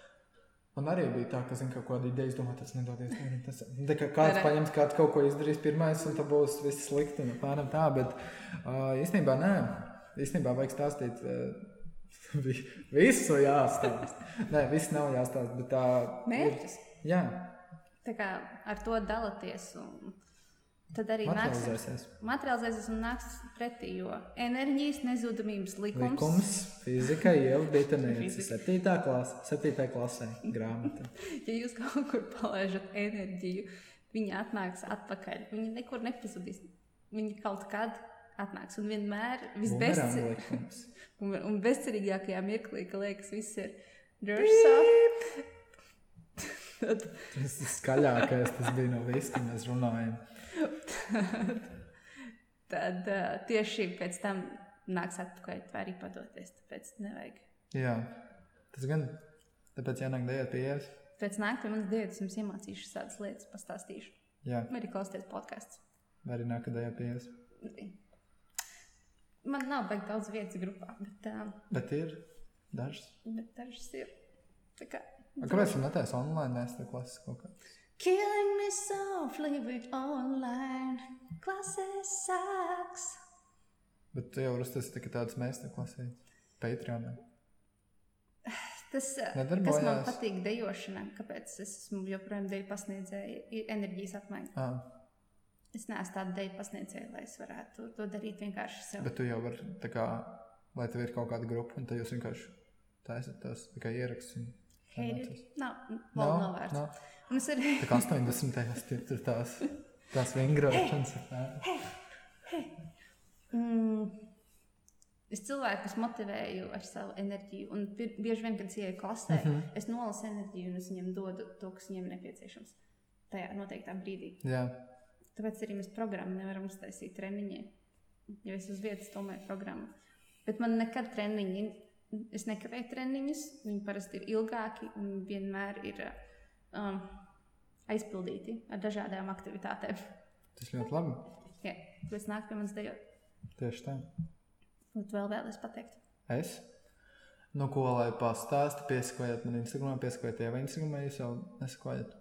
S2: man arī bija tā, ka, zinu, kaut kāda ideja, es domāju, tas nedodies. ne, Tas, nu, tā kā kāds
S1: Vai ne?
S2: paņems, kāds kaut ko izdarīs pirmais, un tad būs viss slikti, un apmēram tā, bet uh, īstenībā nē, īstenībā vajag stāstīt. Uh, vi- Visu jāstāsta. Nē, viss nav jāstāsta. Bet tā ir.
S1: Mērķus.
S2: Jā,
S1: Tā kā ar to dalāties. un Tad arī nāks
S2: materializēsies.
S1: materializēsies un nāks pretī, jo enerģijas nezudamības likums.
S2: Likums, fizika, iela, detonēta.
S1: Fizika.
S2: 7. klasē, 7. klasē grāmata.
S1: Ja jūs kaut kur palaižat enerģiju, viņa atnāks atpakaļ. Viņa nekur nepazudīs. Viņa kaut kad atnāks un vienmēr
S2: Bumerang
S1: visbēdzīgākajā.
S2: likums.
S1: Un, un bezcerīgākajā mirklī, ka liekas, viss ir drusku. Tad,
S2: Tas ir skaļākais, tas bija no vispār, kad mēs runājam.
S1: tad uh, tieši pēc tam nāks atpakaļ, vai arī padoties. Tāpēc nevajag.
S2: Jā, tas gan. Tāpēc jānāk dēļ pie ielas.
S1: Pēc nākt pie manas diētas, jums iemācīšu tādas lietas, pastāstīšu.
S2: Jā,
S1: Vai arī klausīties podkāstu.
S2: vai arī nāk dēļ pie ielas.
S1: Man nav baigi daudz vietas grupā, bet, uh,
S2: Bet ir dažs.
S1: bet dažas ir. Tā kā.
S2: A, Kāpēc gan netaisa online? Nē, tas klases kaut kā.
S1: Killing me softly with online classes sucks.
S2: Bet tu jau uztaisīji tā, ka tādas mēs te klasē. Patreonā.
S1: Tas, eh,
S2: Nedarbojās.
S1: kas man patīk, dejošana, kāpēc es esmu joprojām deju pasniedzēja, ir enerģijas apmaiņa.
S2: Ah,
S1: Es neesmu tāda deju pasniedzēja, lai es varētu to darīt vienkārši sev.
S2: bet tu jau vari, tā kā, lai tev ir kaut kāda grupa, un tad jūs vienkārši taisat tās tikai ierakstus. un
S1: Hei,
S2: iemācās.
S1: nav, nav, nav vērts.
S2: nav.
S1: Un es arī
S2: Tā kā 80. tie tur tās, tās vingrošanas. Nē.
S1: Mm. Es cilvēkus motivēju ar savu enerģiju, un pir- bieži vien, kad es ienāku klasē, mm -hmm. es nolasu enerģiju un es viņiem dodu to, kas viņiem nepieciešams tajā noteiktā brīdī.
S2: Jā,
S1: Tāpēc arī mēs programmu nevaram uztaisīt treniņā, jo es uz vietas tomēr programmu. Bet man nekad treniņi, es nekavēju treniņus, viņi parasti ir ilgāki un vienmēr ir um, aizpildīti ar dažādām aktivitātēm.
S2: tas ļoti labi.
S1: Jā, tas nāk pie manis dejot.
S2: Tieši tā.
S1: Un vēl vēlēs pateikt.
S2: Es. Nu, ko lai pastāstītu, piesakojiet man Instagram, piesakojiet jau Instagram, ja jūs jau nesakojat.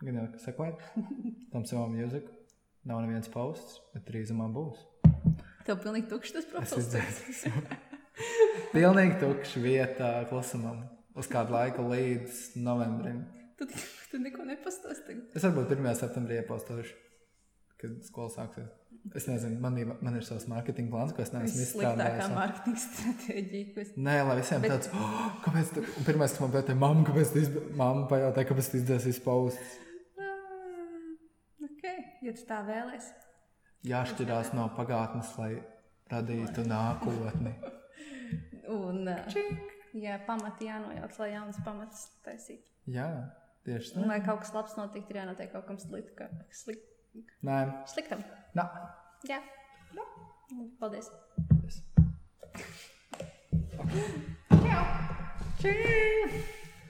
S2: Gan jau ka sekojat tam savam mūziku. Nav neviens pausts, bet drīzumā būs.
S1: Tev pilnīgi tukšs tas
S2: Es
S1: profils.
S2: izdzēsu. Pilnīgi tukša vieta klausumam. Uz kādu laiku līdz novembrim.
S1: tu, tu neko nepastāstīji.
S2: Es varbūt 1. septembrī iepostošu, kad skola sāksies. Es nezinu, man ir, man ir savs mārketinga plāns, ko es neesmu
S1: Vissliktākā
S2: izstrādājis.
S1: mārketinga stratēģija, ko es
S2: Nē, lai visiem bet... tāds, oh, kāpēc tu, un pirmais, kas man pajautā, mamma, kāpēc tu izd... mamma pajautā, kāpēc tu izdzēsīs paustus.
S1: Ah, Ok, ja tu tā vēlēsies.
S2: Jāšķirās no pagātnes, lai radītu nākotni.
S1: Un ah, jā, pamati jānojauc, lai jauns pamats taisītu.
S2: Jā, tieši
S1: Un,
S2: tā.
S1: lai kaut kas labs notiktu, ir jānotiek kaut kam slikt, ka, slik,
S2: Nē,
S1: sliktam.
S2: nā.
S1: Jā, Nu, paldies.
S2: Es-
S1: Čau! Čau!